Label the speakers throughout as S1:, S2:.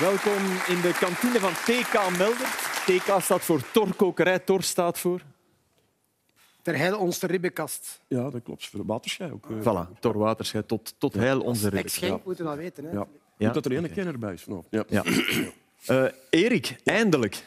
S1: Welkom in de kantine van TK Meldert. TK staat voor Torkokerij. Tor staat voor...
S2: Terheil ons de ribbenkast.
S3: Ja, dat klopt. Voor waterschij ook. eh.
S1: Voilà, Tor Waterschei. Tot, tot heil onze ridder.
S2: Ex-Genk moeten dat weten. Hè.
S3: Ja.
S1: Ja,
S3: Moet dat er één
S1: oké.
S3: kenner bij is. Nou, ja.
S1: Ja.
S3: Ja.
S1: Eh, Erik, eindelijk.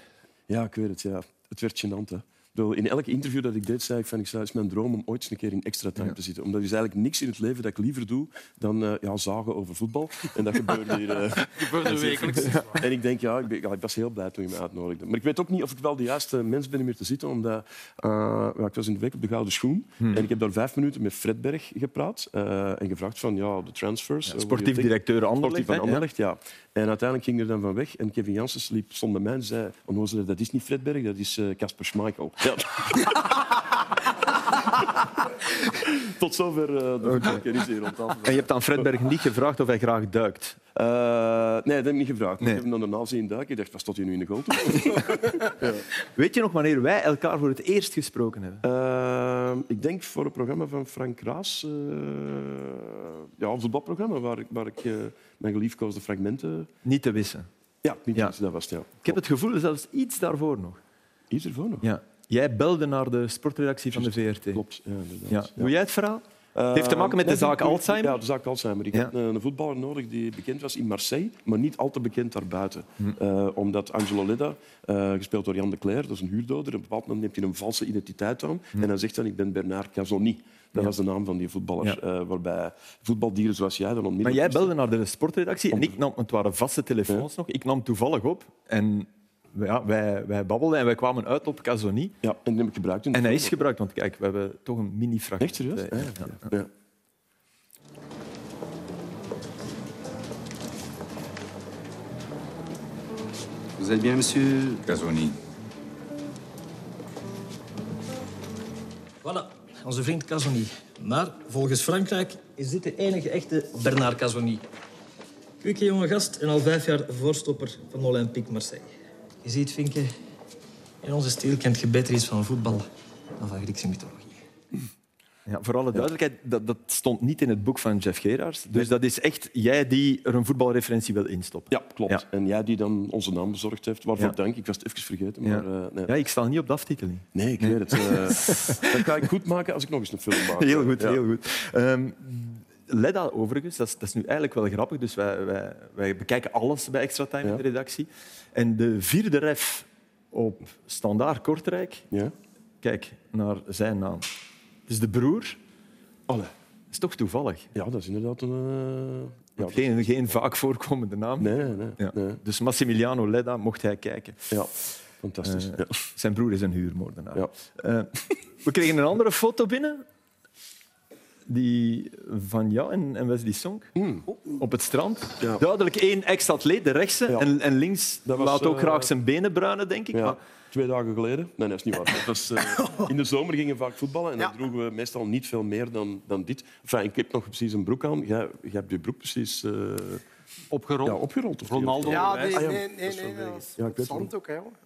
S3: ik weet het. Ja. Het werd gênant. Hè. Ik bedoel, In elk interview dat ik deed, zei ik van ik zou, het is mijn droom om ooit eens een keer in extra time te zitten. Omdat er is eigenlijk niks in het leven dat ik liever doe dan eh, ja, zagen over voetbal. En dat gebeurde hier. eh,
S4: Gebeurde wekelijks.
S3: En ik denk, ja, ik, ben, ja, ik was heel blij toen je me uitnodigde. Maar ik weet ook niet of ik wel de juiste mens ben om hier te zitten, omdat eh, ja, ik was in de week op de Gouden Schoen
S1: Hmm.
S3: en ik heb daar vijf minuten met Fred Berg gepraat eh, en gevraagd van ja, de transfers. eh, wat je
S1: Sportief
S3: denkt.
S1: directeur Anderlecht.
S3: Sportief van
S1: hè?
S3: Anderlecht, ja. En uiteindelijk ging er dan van weg en Kevin Janssens liep, stond bij mij en zei, onnozele, "Oh, dat is niet Fred Berg, dat is eh, Casper Schmeichel. Ja. Tot zover eh, de voetbalkennis hier op tafel.
S1: En je hebt aan Fredberg niet gevraagd of hij graag duikt.
S3: Eh, nee, dat heb ik niet gevraagd.
S1: Nee.
S3: Ik heb hem dan daarna zien duiken. Ik dacht, wat stond hij nu in de goal? toe?
S1: Weet je nog wanneer wij elkaar voor het eerst gesproken hebben?
S3: Ehm, ik denk voor een programma van Frank Raas. eh, ja, een voetbalprogramma waar ik, waar ik eh, mijn geliefkoosde fragmenten...
S1: Niet te wissen.
S3: Ja, niet
S1: Ja.
S3: ja. dat was het, ja. Oh,
S1: Ik heb het gevoel zelfs iets daarvoor nog.
S3: Is ervoor nog?
S1: Ja. Jij belde naar de sportredactie van de VRT.
S3: Klopt, ja, inderdaad.
S1: Ja.
S3: Ja.
S1: Doe jij het verhaal? Het heeft te maken met de
S3: Eh,
S1: zaak Alzheimer?
S3: Ja, de zaak Alzheimer. Ik
S1: Ja.
S3: had een, een voetballer nodig die bekend was in Marseille, maar niet al te bekend daarbuiten.
S1: Hm.
S3: Eh, omdat Angelo Leda, eh, gespeeld door Jan de Cler, dat is een huurdoder, op een bepaald moment neemt hij een valse identiteit aan
S1: Hm.
S3: en dan zegt hij, ik ben Bernard Casoni. Dat was de naam van die voetballer.
S1: Ja.
S3: eh, waarbij voetbaldieren zoals jij dan
S1: Maar
S3: onmiddellijk...
S1: jij
S3: wisten-
S1: belde naar de sportredactie en ik nam, het waren vaste telefoons nog, ik nam toevallig op en ja, wij, wij babbelden en wij kwamen uit op Casoni.
S3: Ja, en die heb ik gebruikt. In de
S1: En hij is
S3: voetbal.
S1: gebruikt, want kijk, we hebben toch een mini-fragment.
S3: Echt serieus?
S1: Eh,
S3: Ah,
S1: ja.
S3: ja, oké. Ja.
S5: Vous êtes bien, monsieur
S6: Casoni.
S7: Voilà, onze vriend Casoni. Maar volgens Frankrijk is dit de enige echte Bernard Casoni. Kwieke jonge gast en al vijf jaar voorstopper van Olympique Marseille. Je ziet, Vinke, in onze stijl kent je beter iets van voetbal dan van Griekse mythologie.
S1: Ja, voor alle duidelijkheid, dat, dat stond niet in het boek van Jeff Gerards. Dus dat is echt jij die er een voetbalreferentie wil instoppen.
S3: Ja, klopt.
S1: Ja.
S3: En jij die dan onze naam bezorgd heeft. Waarvoor
S1: Ja.
S3: dank. Ik was het even vergeten.
S1: Ja.
S3: Maar, eh, nee.
S1: Ja, ik sta niet op de aftiteling.
S3: nee, ik weet het. eh, dat ga ik goed maken als ik nog eens een film maak.
S1: Heel goed,
S3: Ja.
S1: heel goed. Ehm Leda, overigens, dat is, dat is nu eigenlijk wel grappig. Dus wij, wij, wij bekijken alles bij Extra Time in
S3: Ja.
S1: de redactie. En de vierde ref op Standaard Kortrijk,
S3: Ja.
S1: kijk naar zijn naam. Dus de broer,
S3: Allee.
S1: dat is toch toevallig.
S3: ja, dat is inderdaad een... eh, Ja, dat-
S1: Geen, geen vaak voorkomende naam.
S3: Nee, nee, nee.
S1: Ja.
S3: nee.
S1: Dus Massimiliano Leda mocht hij kijken.
S3: Ja, fantastisch.
S1: Eh,
S3: ja.
S1: Zijn broer is een huurmoordenaar.
S3: Ja.
S1: Eh, we kregen een andere foto binnen. Die van jou en, en Wesley Song. Op het strand.
S3: Mm. Ja.
S1: Duidelijk één ex-atleet, de rechtse.
S3: Ja.
S1: En, en links
S3: Dat was,
S1: laat ook
S3: eh,
S1: graag zijn benen bruinen, denk ik.
S3: Ja,
S1: Maar
S3: twee dagen geleden. Nee, dat is niet waar. Dat was, eh, in de zomer gingen we vaak voetballen en dan
S2: Ja.
S3: droegen we meestal niet veel meer dan, dan dit. Enfin, ik heb nog precies een broek aan. Jij, jij hebt je broek precies eh,
S4: Opgerold.
S3: ja, opgerold. of niet?
S4: Ronaldo.
S2: Ja,
S4: bewijs.
S2: nee,
S3: ja,
S2: nee,
S3: dat
S2: nee.
S3: is wel
S2: nee,
S3: degelijk.
S2: dat is
S3: Ja, ik weet het
S2: zand ook, hè. jongen.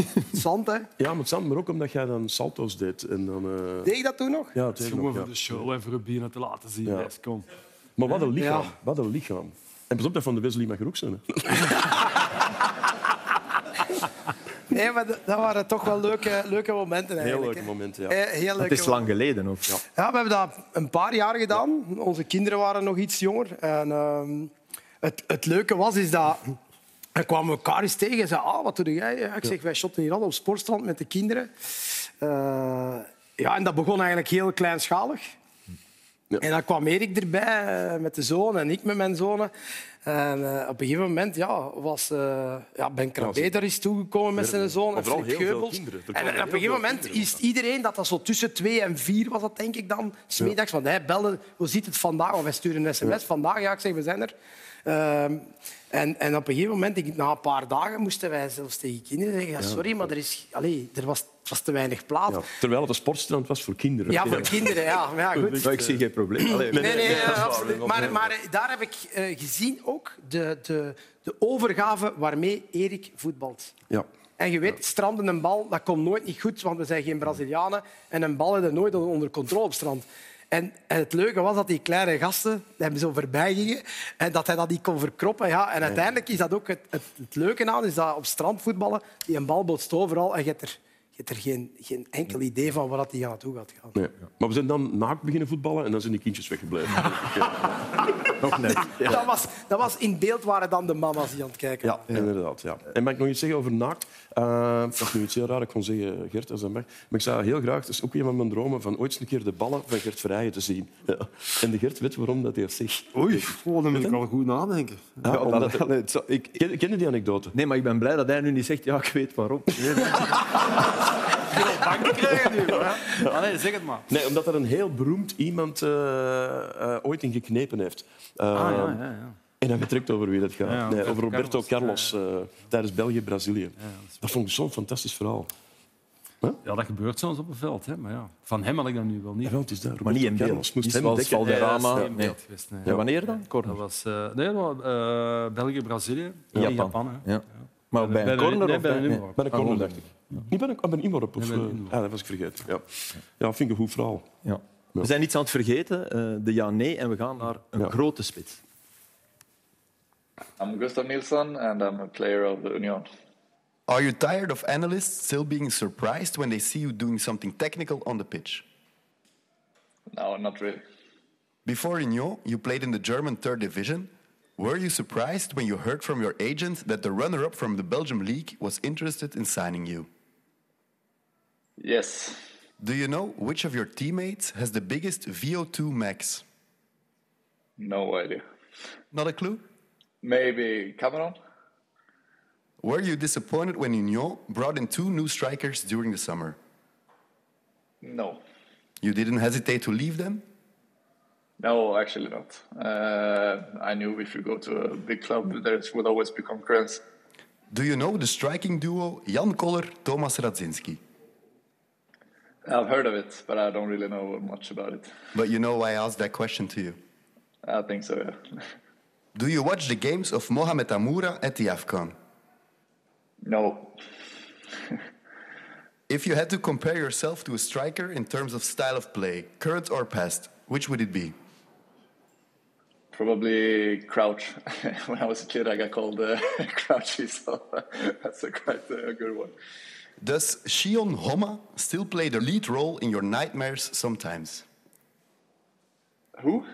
S2: Zand, hè.
S3: Ja, met Sam, maar ook omdat jij dan salto's deed. En dan, eh,
S2: Deed ik dat toen nog?
S3: Ja, het
S4: Het is
S3: heeft
S4: gewoon
S3: nog,
S4: voor
S3: ja.
S4: de show en voor een bier te laten zien.
S3: Ja.
S4: Yes, kom.
S3: Maar wat een lichaam.
S2: Ja.
S3: Wat een lichaam. En pas op, dat van de Wesley mag er ook zijn. hè.
S2: Nee, maar dat, dat waren toch wel leuke, leuke momenten
S3: Heel
S2: eigenlijk.
S3: leuke
S2: hè.
S3: momenten, ja.
S2: Eh, heel
S1: het
S2: leuke
S1: is lang geleden. Of?
S2: Ja, we hebben dat een paar jaar gedaan. Onze kinderen waren nog iets jonger. En, ehm, het, het leuke was is dat... We kwamen elkaar eens tegen en zeiden, ah, wat doe jij? Ja, Ik zeg, wij shotten hier al op sportstrand met de kinderen. Eh, ja, en dat begon eigenlijk heel kleinschalig.
S3: Ja.
S2: En dan kwam Erik erbij eh, met de zoon en ik met mijn zonen. En eh, op een gegeven moment ja, was, eh, ja, ben Krabbe daar is toegekomen met zijn zoon.
S3: Maar
S2: En
S3: vooral
S2: Filip
S3: heel veel
S2: Geubels.
S3: kinderen. Er
S2: En,
S3: kwamen
S2: op een
S3: heel
S2: gegeven
S3: veel
S2: moment
S3: kinderen.
S2: is iedereen dat dat zo tussen twee en vier was, dat denk ik dan, smiddags. Want hij belde, hoe ziet het vandaag? Of wij sturen een sms, vandaag, ja, ik zeg, we zijn er. Ehm, en, en op een gegeven moment, ik, na een paar dagen, moesten wij zelfs tegen kinderen zeggen, ja, sorry, maar er, is, allee, er was, het was te weinig plaats.
S3: Ja.
S2: Ja,
S3: Terwijl het een sportstrand was voor kinderen.
S2: voor kinderen, ja. Maar ja, goed.
S1: Maar ik zie geen probleem. Allee,
S2: Nee, nee, absoluut. Maar, maar eh, daar heb ik eh, gezien ook de, de, de overgave waarmee Erik voetbalt.
S3: Ja.
S2: En je weet, stranden een bal, dat komt nooit niet goed, want we zijn geen Brazilianen. En een bal hebben we nooit onder controle op strand. En, en het leuke was dat die kleine gasten hem zo voorbij gingen en dat hij dat niet kon verkroppen. Ja. En uiteindelijk is dat ook het, het, het leuke aan, is dat op strandvoetballen, die een bal botst overal en je hebt er, je hebt er geen, geen enkel idee van waar dat die aan naartoe gaat gaan.
S3: Nee. Maar we zijn dan naakt beginnen voetballen en dan zijn die kindjes weggebleven.
S1: Nog net.
S2: Dat, was, dat was in beeld waren dan de mama's die aan het kijken
S3: Ja, inderdaad. Ja. En mag ik nog iets zeggen over naakt? Eh, dat is nu iets heel raar. Ik kon zeggen, eh, Gert, als dat mag. Maar ik zou heel graag, dat is ook een van mijn dromen, van ooit eens een keer de ballen van Gert Verheijen te zien. Ja. En de Gert weet waarom dat hij dat zegt.
S6: Oei, oh, dan moet ik al goed nadenken.
S3: Ja,
S6: Ja,
S3: omdat-
S6: dat- nee, het zou- ik,
S3: Ken, ken je die anekdote?
S1: Nee, maar ik ben blij dat hij nu niet zegt, ja, ik weet waarom.
S4: Allee, zeg het maar.
S3: Nee, omdat er een heel beroemd iemand eh, eh, ooit in geknepen heeft. Eh,
S4: Ah, ja, ja, ja.
S3: En dan getrekt over wie dat gaat.
S4: Ja, ja,
S3: nee,
S4: Roberto
S3: over Roberto Carlos,
S4: Carlos.
S3: eh, tijdens België-Brazilië. dat, vond ik zo'n fantastisch verhaal.
S4: Ja, dat gebeurt soms op het veld. Hè. Maar ja, van hem had ik dat nu wel niet.
S3: Ja, het is daar.
S1: Maar niet in
S3: Roberto
S1: beeld.
S3: Carlos moest
S1: Niet
S3: hem
S1: zoals
S3: dekken.
S1: Valderrama.
S4: Nee, dat is niet in
S1: Nee.
S4: beeld geweest, nee.
S1: Ja, wanneer dan?
S4: Dat
S1: Corner.
S4: was eh, nee, dat was, eh, België, Brazilië,
S1: Japan.
S4: Japan. Japan hè.
S1: Ja. Maar bij een corner
S4: nee,
S1: of
S4: bij een
S1: nee?
S4: inworp.
S3: Bij de corner,
S1: Ah,
S3: dacht ik. Niet bij een, ah, bij een inworp. Of,
S4: Nee, bij een
S3: eh,
S4: inworp.
S3: ah, dat was ik vergeten. Ja, ja vind ik een goed verhaal.
S1: Ja. We zijn iets aan het vergeten, eh, de ja-nee, en we gaan naar een
S3: Ja.
S1: grote spits.
S8: I'm Gustav Nilsson, and I'm a player of the Union.
S9: Are you tired of analysts still being surprised when they see you doing something technical on the pitch?
S8: No, not really.
S9: Before Union, you played in the German third division. Were you surprised when you heard from your agent that the runner up from the Belgium League was interested in signing you?
S8: Yes,
S9: Do you know which of your teammates has the biggest VO2 max?
S8: no idea.
S9: Not a clue?
S8: Maybe Cameron?
S9: Were you disappointed when Union brought in two new strikers during the summer?
S8: No.
S9: You didn't hesitate to leave them?
S8: No, actually not. Uh, I knew if you go to a big club, there will always be concurrence.
S9: Do you know the striking duo Jan Koller Thomas Radzinski?
S8: I've heard of it, but I don't really know much about it.
S9: But you know why I asked that question to you.
S8: I think so, yeah.
S9: Do you watch the games of Mohamed Amoura at the AFCON?
S8: No.
S9: If you had to compare yourself to a striker in terms of style of play, current or past, which would it be?
S8: Probably Crouch. when I was a kid, I got called uh, Crouchy, so that's a quite uh, good one.
S9: Does Shion Homa still play the lead role in your nightmares sometimes?
S8: Who?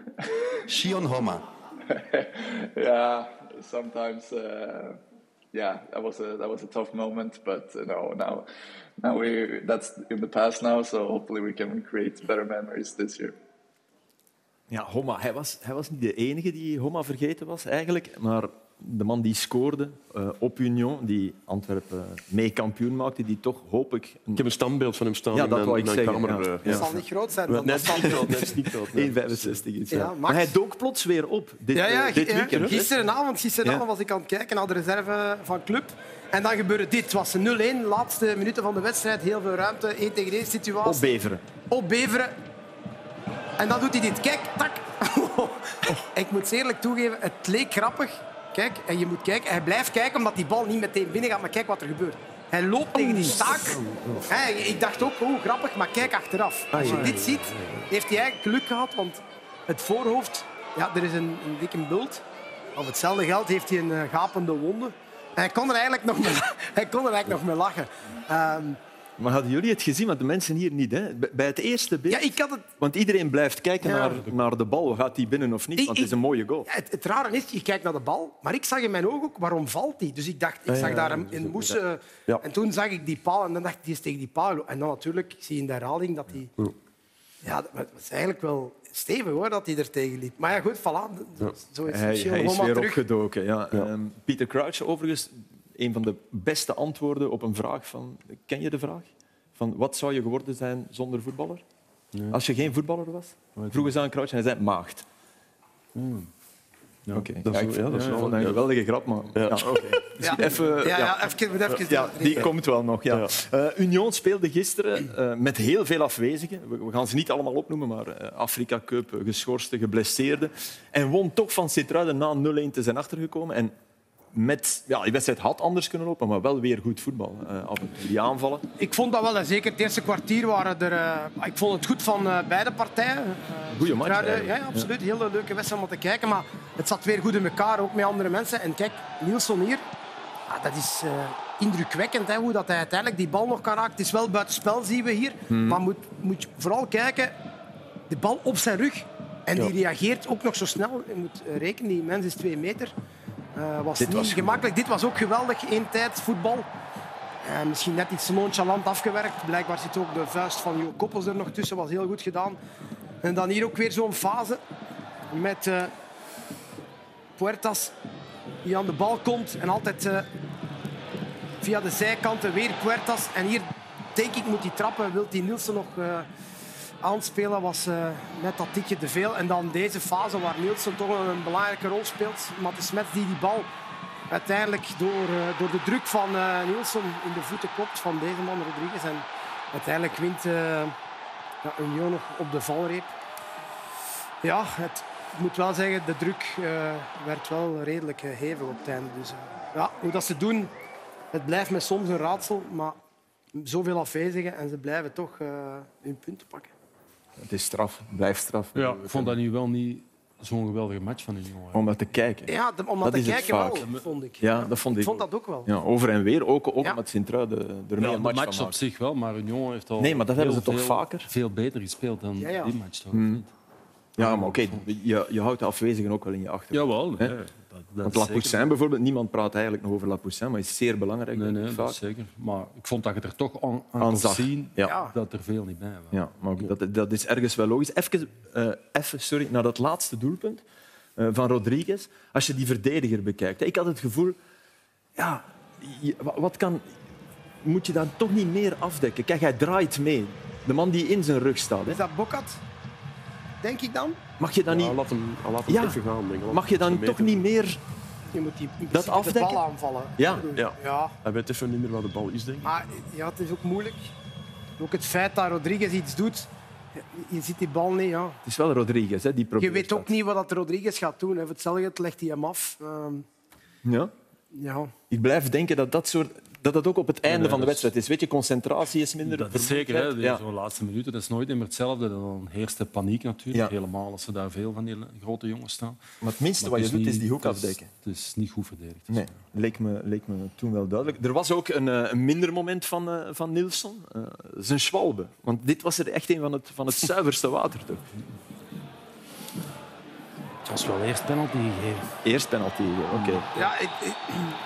S9: Shion Homa.
S8: yeah, sometimes. Uh, yeah, that was a that was a tough moment, but uh, no, now, now we that's in the past now. So hopefully we can create better memories this year.
S1: Ja, Homa, hij was, hij was niet de enige die Homa vergeten was eigenlijk, maar de man die scoorde eh, op Union, die Antwerpen eh, mee kampioen maakte, die toch hoop ik
S3: Ik heb een standbeeld van hem staan
S1: Ja,
S3: in
S1: dat
S3: mijn,
S1: wou ik
S3: mijn
S1: zeggen,
S3: kamer.
S1: ja.
S3: eh,
S1: Ja.
S2: Dat zal niet groot zijn. Dan.
S3: Nee,
S2: Dat
S3: dat is
S2: zal...
S3: niet groot, dat is niet groot, nee.
S1: 1,65 is.
S2: Ja,
S1: Ja,
S2: max.
S1: maar hij dook plots weer op dit,
S2: Ja, ja,
S1: eh, dit
S2: ja,
S1: weekend. hè.
S2: gisterenavond, gisterenavond
S1: Ja.
S2: was ik aan het kijken naar de reserve van club. En dan gebeurde dit. Het was een 0-1, laatste minuten van de wedstrijd. Heel veel ruimte, 1 tegen 1
S1: Op
S2: situatie.
S1: Beveren.
S2: Opbeveren. En dan doet hij dit. Kijk, tak. ik moet eerlijk toegeven, het leek grappig. Kijk, en je moet kijken. Hij blijft kijken omdat die bal niet meteen binnen gaat. Maar kijk wat er gebeurt. Hij loopt tegen die staak. Hè, ik dacht ook, oh, grappig, maar kijk achteraf. Als je dit ziet, heeft hij eigenlijk geluk gehad. Want het voorhoofd, ja, er is een, een dikke bult. Op hetzelfde geld heeft hij een eh, gapende wonde. En hij kon er eigenlijk nog mee, hij kon er eigenlijk nog mee lachen. Ehm,
S1: Maar hadden jullie het gezien? Want de mensen hier niet. Hè? Bij- Bij het eerste beeld.
S2: ja, ik had het
S1: Want iedereen blijft kijken
S2: Ja.
S1: naar, naar de bal. Gaat die binnen of niet?
S2: Ik-
S1: Want het is een mooie goal.
S2: Ja, het, het rare is, je kijkt naar de bal, maar ik zag in mijn ogen ook waarom valt die. Dus ik dacht, ik zag daar een, een moes. eh,
S3: Ja.
S2: En toen zag ik die paal en dan dacht ik, die is tegen die paal. En dan natuurlijk, ik zie in de herhaling dat die... Ja, dat maar het was eigenlijk wel stevig hoor, dat hij er tegen liep. Maar ja, goed, voilà. Zo is
S1: Hij,
S2: Michiel
S1: hij is
S2: Homa
S1: weer
S2: terug.
S1: opgedoken. Ja. Ehm, Pieter Crouch, overigens, een van de beste antwoorden op een vraag van... Ken je de vraag? Van wat zou je geworden zijn zonder voetballer? Als je geen voetballer was? Vroegen ze aan Crouch en hij zei maagd. Oké.
S3: dat is-
S1: Ja, ik
S3: Hmm. ja, dat is
S1: ik
S3: wel-
S1: vond dat een
S3: ja.
S1: geweldige grap, maar... Ja. oké.
S2: Ja,
S1: Even,
S2: ja,
S1: ja.
S2: ja, even, even,
S1: Ja, die komt wel nog. Ja. Eh, Union speelde gisteren eh, met heel veel afwezigen. We, we gaan ze niet allemaal opnoemen, maar eh, Afrika Cup, eh, geschorste, geblesseerde. En won toch van Sint-Truiden na 0-1 te zijn achtergekomen. En met, ja, die wedstrijd had anders kunnen lopen, maar wel weer goed voetbal. eh, af en toe. Die aanvallen.
S2: Ik vond dat wel. en Zeker het eerste kwartier waren er... eh, ik vond het goed van eh, beide partijen. Eh,
S1: Goeie match
S2: Truiden- Ja,
S1: eigenlijk.
S2: ja, absoluut. Heel een leuke wedstrijd om te kijken. Maar het zat weer goed in elkaar, ook met andere mensen. En kijk, Nielsen hier. ah, dat is eh, indrukwekkend, hè, hoe dat hij uiteindelijk die bal nog kan raken. Het is wel buitenspel, zien we hier.
S1: Hmm.
S2: Maar moet, moet je vooral kijken, de bal op zijn rug. En die reageert ook nog zo snel. Je moet eh, rekenen, die mens is twee meter. Eh, was
S1: Dit
S2: niet
S1: was goed.
S2: gemakkelijk. Dit was ook geweldig. Eén tijd voetbal. Eh, misschien net iets nonchalant afgewerkt. Blijkbaar zit ook de vuist van Jo Koppels er nog tussen. Was heel goed gedaan. En dan hier ook weer zo'n fase met eh, Puertas die aan de bal komt. En altijd eh, via de zijkanten weer Puertas. En hier denk ik moet hij trappen. Wil die Nielsen nog eh, aanspelen was eh, net dat tikje te veel. En dan deze fase waar Nielsen toch een belangrijke rol speelt. Matte Smet die die bal uiteindelijk door, eh, door de druk van eh, Nielsen in de voeten kopt van deze man Rodriguez. En uiteindelijk wint eh ja, Union nog op de valreep. Ja, het, ik moet wel zeggen, de druk eh, werd wel redelijk eh, hevig op het einde. Dus, eh, ja, hoe dat ze doen, het blijft me soms een raadsel, maar zoveel afwezigen en ze blijven toch eh, hun punten pakken.
S1: Het is straf, blijft straf.
S4: Ja, ik vond dat nu wel niet zo'n geweldige match van die jongen.
S1: Om naar te kijken.
S2: Ja, de- om
S1: Dat
S2: dat te
S1: is het
S2: kijken
S1: vaak.
S2: wel, vond ik.
S1: Ja, dat vond
S2: Ik
S1: ik.
S2: vond dat ook wel.
S1: Ja, over en weer, ook, ook
S2: Ja.
S1: omdat Sint-Truiden er
S4: Ja,
S1: mee
S4: de
S1: een match,
S4: match,
S1: van
S4: op
S1: maakt.
S4: zich wel, maar Union heeft al
S1: Nee, maar dat hebben
S4: heel
S1: ze toch
S4: veel-
S1: vaker? Hmm.
S4: veel beter gespeeld dan
S2: Ja, ja.
S4: die match. Toch?
S1: Ja, maar oké, je, je houdt de afwezigen ook wel in je achter.
S4: Jawel,
S1: Hè?
S4: hè. dat, dat
S1: Want
S4: is
S1: La
S4: zeker.
S1: Poussin bijvoorbeeld, niemand praat eigenlijk nog over La Poussin, maar is zeer belangrijk.
S4: Nee,
S1: denk
S4: nee,
S1: ik,
S4: dat
S1: vaak.
S4: is zeker. Maar ik vond dat je er toch aan,
S1: Aan
S4: aan kon
S1: zag.
S4: zien
S1: Ja.
S2: Ja.
S4: dat er veel niet bij was.
S1: Ja, maar ook dat, dat is ergens wel logisch. Even, eh, even sorry, naar dat laatste doelpunt eh, van Rodriguez. Als je die verdediger bekijkt. hè, Ik had het gevoel, ja, je- wa- wat kan, moet je dan toch niet meer afdekken? Kijk, hij draait mee. De man die in zijn rug staat. Hè.
S2: Is dat Bokat? Denk ik dan?
S1: Mag je dan,
S3: Ja,
S1: niet,
S3: laat hem, laat hem
S1: Ja.
S3: even gaan. Denk ik. Laat
S1: mag je
S3: hem
S1: dan
S3: even
S1: toch
S3: meten.
S1: niet meer...
S2: Je moet die in
S1: Dat
S2: principe de
S1: afdekken?
S2: bal aanvallen.
S1: Ja,
S3: Ja.
S2: Ja,
S3: Hij weet even niet meer waar de bal is, denk ik.
S2: maar ja, het is ook moeilijk. Ook het feit dat Rodriguez iets doet, je ziet die bal niet. Ja.
S1: het is wel Rodriguez hè, die
S2: Je
S1: probeert
S2: weet ook
S1: dat.
S2: niet wat dat Rodriguez gaat doen. Hè. Voor Hetzelfde geld legt hij hem af. Ehm,
S1: Ja?
S2: ja.
S1: Ik blijf denken dat dat, soort, dat dat ook op het einde
S4: nee,
S1: van de
S4: dat is-
S1: wedstrijd is. Weet je, concentratie is minder.
S4: Dat is zeker, hè. Die-
S1: Ja.
S4: zo'n laatste minuten, dat is nooit meer hetzelfde. Dan heerst de paniek natuurlijk,
S1: Ja.
S4: helemaal als ze daar veel van die grote jongens staan.
S1: Maar het minste wat
S4: Maar
S1: je
S4: het
S1: doet, is
S4: niet-
S1: die hoek
S4: het is-
S1: afdekken.
S4: Het is niet goed verdedigd.
S1: Nee, leek me, leek me toen wel duidelijk. Er was ook een, eh, een minder moment van, eh, van Nilsson. Eh, zijn schwalbe. Want dit was er echt een van het, van het zuiverste water. Toch?
S4: Het was wel eerst penalty gegeven.
S1: Eerst penalty. eh, Oké.
S2: Ja, ik, ik,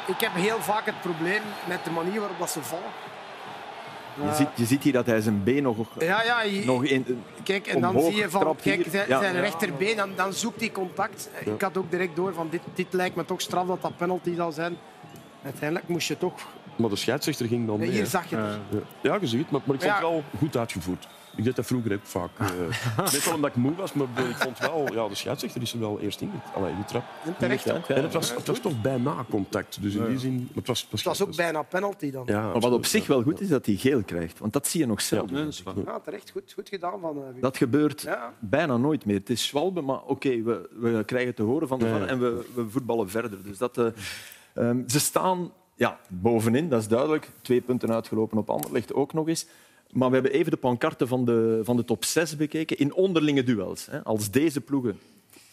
S2: ik heb heel vaak het probleem met de manier waarop dat ze vallen.
S1: Je, ziet, je ziet hier dat hij zijn been nog...
S2: Ja, ja,
S4: Eh.
S2: je-
S1: nog in,
S2: Kijk, en dan
S1: Omhoog
S2: zie je van,
S1: getrapt
S2: kijk,
S1: hier.
S2: zijn,
S1: Ja.
S2: zijn rechterbeen, dan, dan zoekt hij contact. Ik had ook direct door van, dit, dit lijkt me toch straf dat dat penalty zou zijn. Uiteindelijk moest je toch...
S3: Maar de scheidsrechter ging dan mee.
S2: Hier
S3: hè.
S2: zag je het.
S3: Ja. Ja, je ziet, maar, maar ik
S2: Ja.
S3: vond het wel goed uitgevoerd. Ik deed dat vroeger ook vaak. eh net wel omdat ik moe was, maar ik vond wel... Ja, de scheidsrechter is er wel eerst in. Allee, die trap.
S2: En terecht.
S1: Ja.
S2: hè.
S3: En het was, het was toch bijna contact. Dus in die zin... maar Het was, het
S2: Het was ook bijna penalty dan.
S3: Dus- Ja,
S1: Maar wat op
S3: absoluut,
S1: zich
S3: ja.
S1: wel goed is, dat hij geel krijgt. Want dat zie je nog zelden.
S4: Nee, dat is waar.
S2: Ja, terecht. Goed, goed gedaan van eh, Wim.
S1: Dat gebeurt
S2: Ja.
S1: bijna nooit meer. Het is zwalbe, maar oké, we, we krijgen te horen van de VAR en we, we voetballen verder. Dus dat, eh, ehm, ze staan ja, bovenin, dat is duidelijk. Twee punten uitgelopen op Anderlecht ook nog eens. Maar we hebben even de pancarte van de, van de top 6 bekeken in onderlinge duels. Hè. Als deze ploegen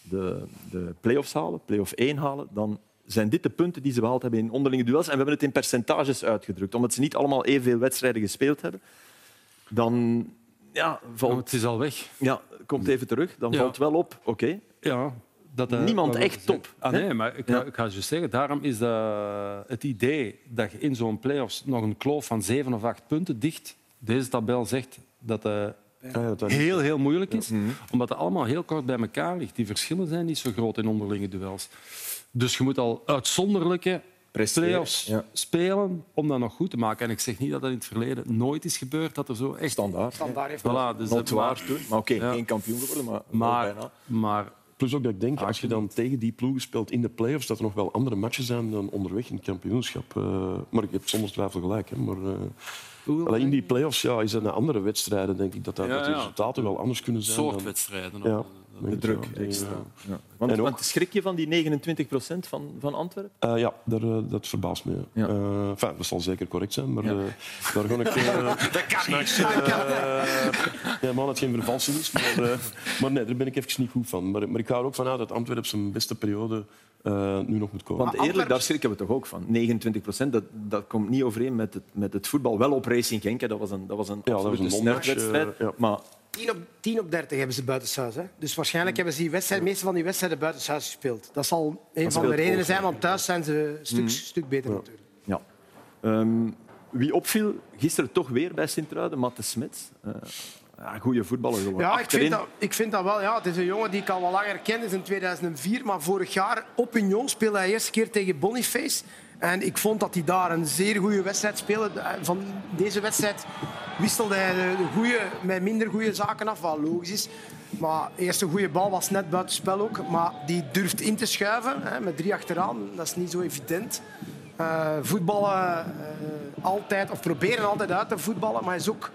S1: de, de play-offs halen, play-off 1 halen, dan zijn dit de punten die ze behaald hebben in onderlinge duels. En we hebben het in percentages uitgedrukt, omdat ze niet allemaal evenveel wedstrijden gespeeld hebben. Dan ja, valt
S4: Oh, het is al weg.
S1: ja, komt even terug. Dan
S4: Ja.
S1: valt wel op, oké.
S4: Ja, dat, eh,
S1: Niemand
S4: wat we
S1: echt
S4: zeggen.
S1: top,
S4: Ah,
S1: hè?
S4: nee, maar ik,
S1: Ja.
S4: ga ik ga je zeggen, daarom is dat het idee dat je in zo'n play-offs nog een kloof van zeven of acht punten dicht. Deze tabel zegt dat het
S3: Ja, dat-
S4: heel, heel moeilijk is,
S1: Mhm.
S4: omdat het allemaal heel kort bij elkaar ligt. Die verschillen zijn niet zo groot in onderlinge duels. Dus je moet al uitzonderlijke
S1: Presteren,
S4: play-offs
S1: ja.
S4: spelen om dat nog goed te maken. En ik zeg niet dat dat in het verleden nooit is gebeurd, dat er zo echt...
S1: Standaard.
S2: Dan daar heeft
S4: Voilà, dus dat-
S1: Notoire toen. Maar oké,
S4: Ja.
S1: geen kampioen geworden, maar, wel
S4: maar,
S1: bijna.
S4: maar
S3: Plus ook dat ik denk, als je dan tegen die ploegen speelt in de play-offs, dat er nog wel andere matchen zijn dan onderweg in het kampioenschap. Eh, maar ik heb zonder twijfel gelijk. Hè, maar, eh, Allee, in die play-offs ja, is dat naar andere wedstrijden, denk ik, dat, dat,
S10: Ja,
S3: dat de
S10: ja.
S3: resultaten wel anders kunnen zijn. dan-
S10: soort wedstrijden.
S3: Ja, denk
S1: De
S3: ik
S1: druk
S3: wel.
S1: extra. Ja.
S3: En
S1: Want,
S3: ook-
S1: want schrik je van die 29 van, van Antwerpen?
S3: Eh, ja, daar, eh, dat verbaast me. Ja.
S1: Ja.
S3: Eh, enfin, dat zal zeker correct zijn, maar
S1: Ja.
S3: eh, daar ga ik... eh,
S10: Dat kan niet.
S3: ja, man, het geen vervalsing is. Maar, eh, maar nee, daar ben ik even niet goed van. Maar, maar ik ga er ook vanuit dat Antwerpen op zijn beste periode eh, nu nog moet komen.
S1: Want eerlijk, daar schrikken we toch ook van. 29 dat, dat komt niet overeen met het, met het voetbal. Wel op Racing Genk, hè. dat was een, dat was een
S3: dat was
S1: absolute
S3: een non-match,
S1: snerpwedstrijd.
S3: eh, ja.
S1: Maar
S2: 10 op, 10 op 30 hebben ze buitenshuis. Hè? Dus waarschijnlijk hebben ze die wedstrijd, meeste van die wedstrijden buitenshuis gespeeld. Dat zal een van de
S3: speelt
S2: redenen
S3: ook,
S2: zijn, want thuis zijn ze een stuk, stuk beter natuurlijk.
S1: ja. Ehm, wie opviel, gisteren toch weer bij Sint-Truiden, Matte Smits. Eh, ja, goede voetballer gewoon.
S2: Ja, ik
S1: Achterin-
S2: vind, dat, ik vind dat wel. Ja, het is een jongen die ik al wel langer ken. Het is in 2004, maar vorig jaar op Union speelde hij de eerste keer tegen Boniface. En ik vond dat hij daar een zeer goede wedstrijd speelde. Eh, Van deze wedstrijd wisselde hij de de goede met minder goede zaken af, wat logisch is. Maar de eerste goede bal was net buitenspel ook. Maar die durft in te schuiven, hè, met drie achteraan. Dat is niet zo evident. Eh, voetballen eh, altijd, of proberen altijd uit te voetballen, maar hij is ook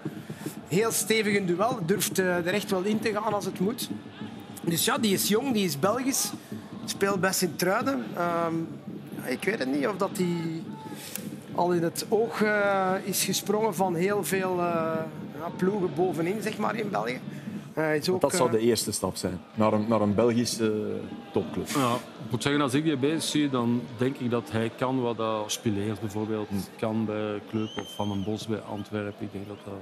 S2: heel stevig in duel. Durft eh, er echt wel in te gaan als het moet. Dus ja, die is jong, die is Belgisch. Speelt bij Sint-Truiden. Ehm, ja, ik weet het niet of dat die al in het oog eh, is gesprongen van heel veel eh, ja, ploegen bovenin, zeg maar, in België. Eh, hij is ook,
S1: Dat zou
S2: eh,
S1: de eerste stap zijn, naar een, naar een Belgische eh, topclub.
S4: Ja, ik moet zeggen, als ik die bezig zie, dan denk ik dat hij kan wat dat Spileers bijvoorbeeld kan bij Club of Van den Bos bij Antwerpen. Ik denk dat dat...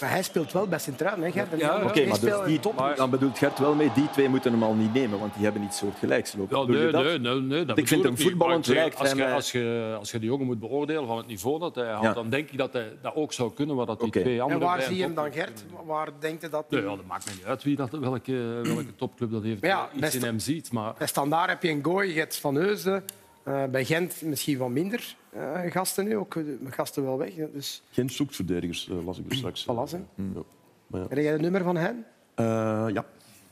S2: maar hij speelt wel bij Sint-Truiden, hè, Gert?
S4: Ja, ja.
S2: Hij
S4: Oké,
S1: Oké, maar dus
S2: speelt-
S1: die, dan bedoelt Gert wel mee, die twee moeten hem al niet nemen, want die hebben iets soortgelijks lopen.
S4: Ja,
S1: Bedoel je
S4: nee,
S1: dat?
S4: nee, nee, nee, dat
S1: Ik vind
S4: bedoel
S1: hem
S4: niet, maar
S1: voetballend
S4: ik zeg,
S1: lijkt
S4: Als
S1: hij
S4: je,
S1: mij-
S4: als, je, als je die jongen moet beoordelen van het niveau dat hij had,
S1: Ja.
S4: dan denk ik dat hij dat ook zou kunnen, wat dat die
S1: Oké.
S4: twee
S2: En
S4: anderen...
S2: waar
S4: bij
S2: zie je hem
S4: top-
S2: dan, Gert? Waar denkt hij dat hij...
S4: Nee, ja, dat maakt me niet uit wie dat, welke, welke topclub dat heeft, eh,
S2: Maar ja,
S4: iets
S2: best-
S4: in hem ziet. Maar
S2: Bij Eh, Standaard heb je een gooi, je hebt Van Heusden. Eh, bij Gent misschien wat minder eh, gasten nu, ook eh, gasten wel weg. hè. Dus
S3: Gent zoekt verdedigers, eh, las ik dus straks.
S2: Voilà, hè.
S10: Mm.
S3: Ja.
S2: heb jij het nummer van hen?
S3: Eh, ja.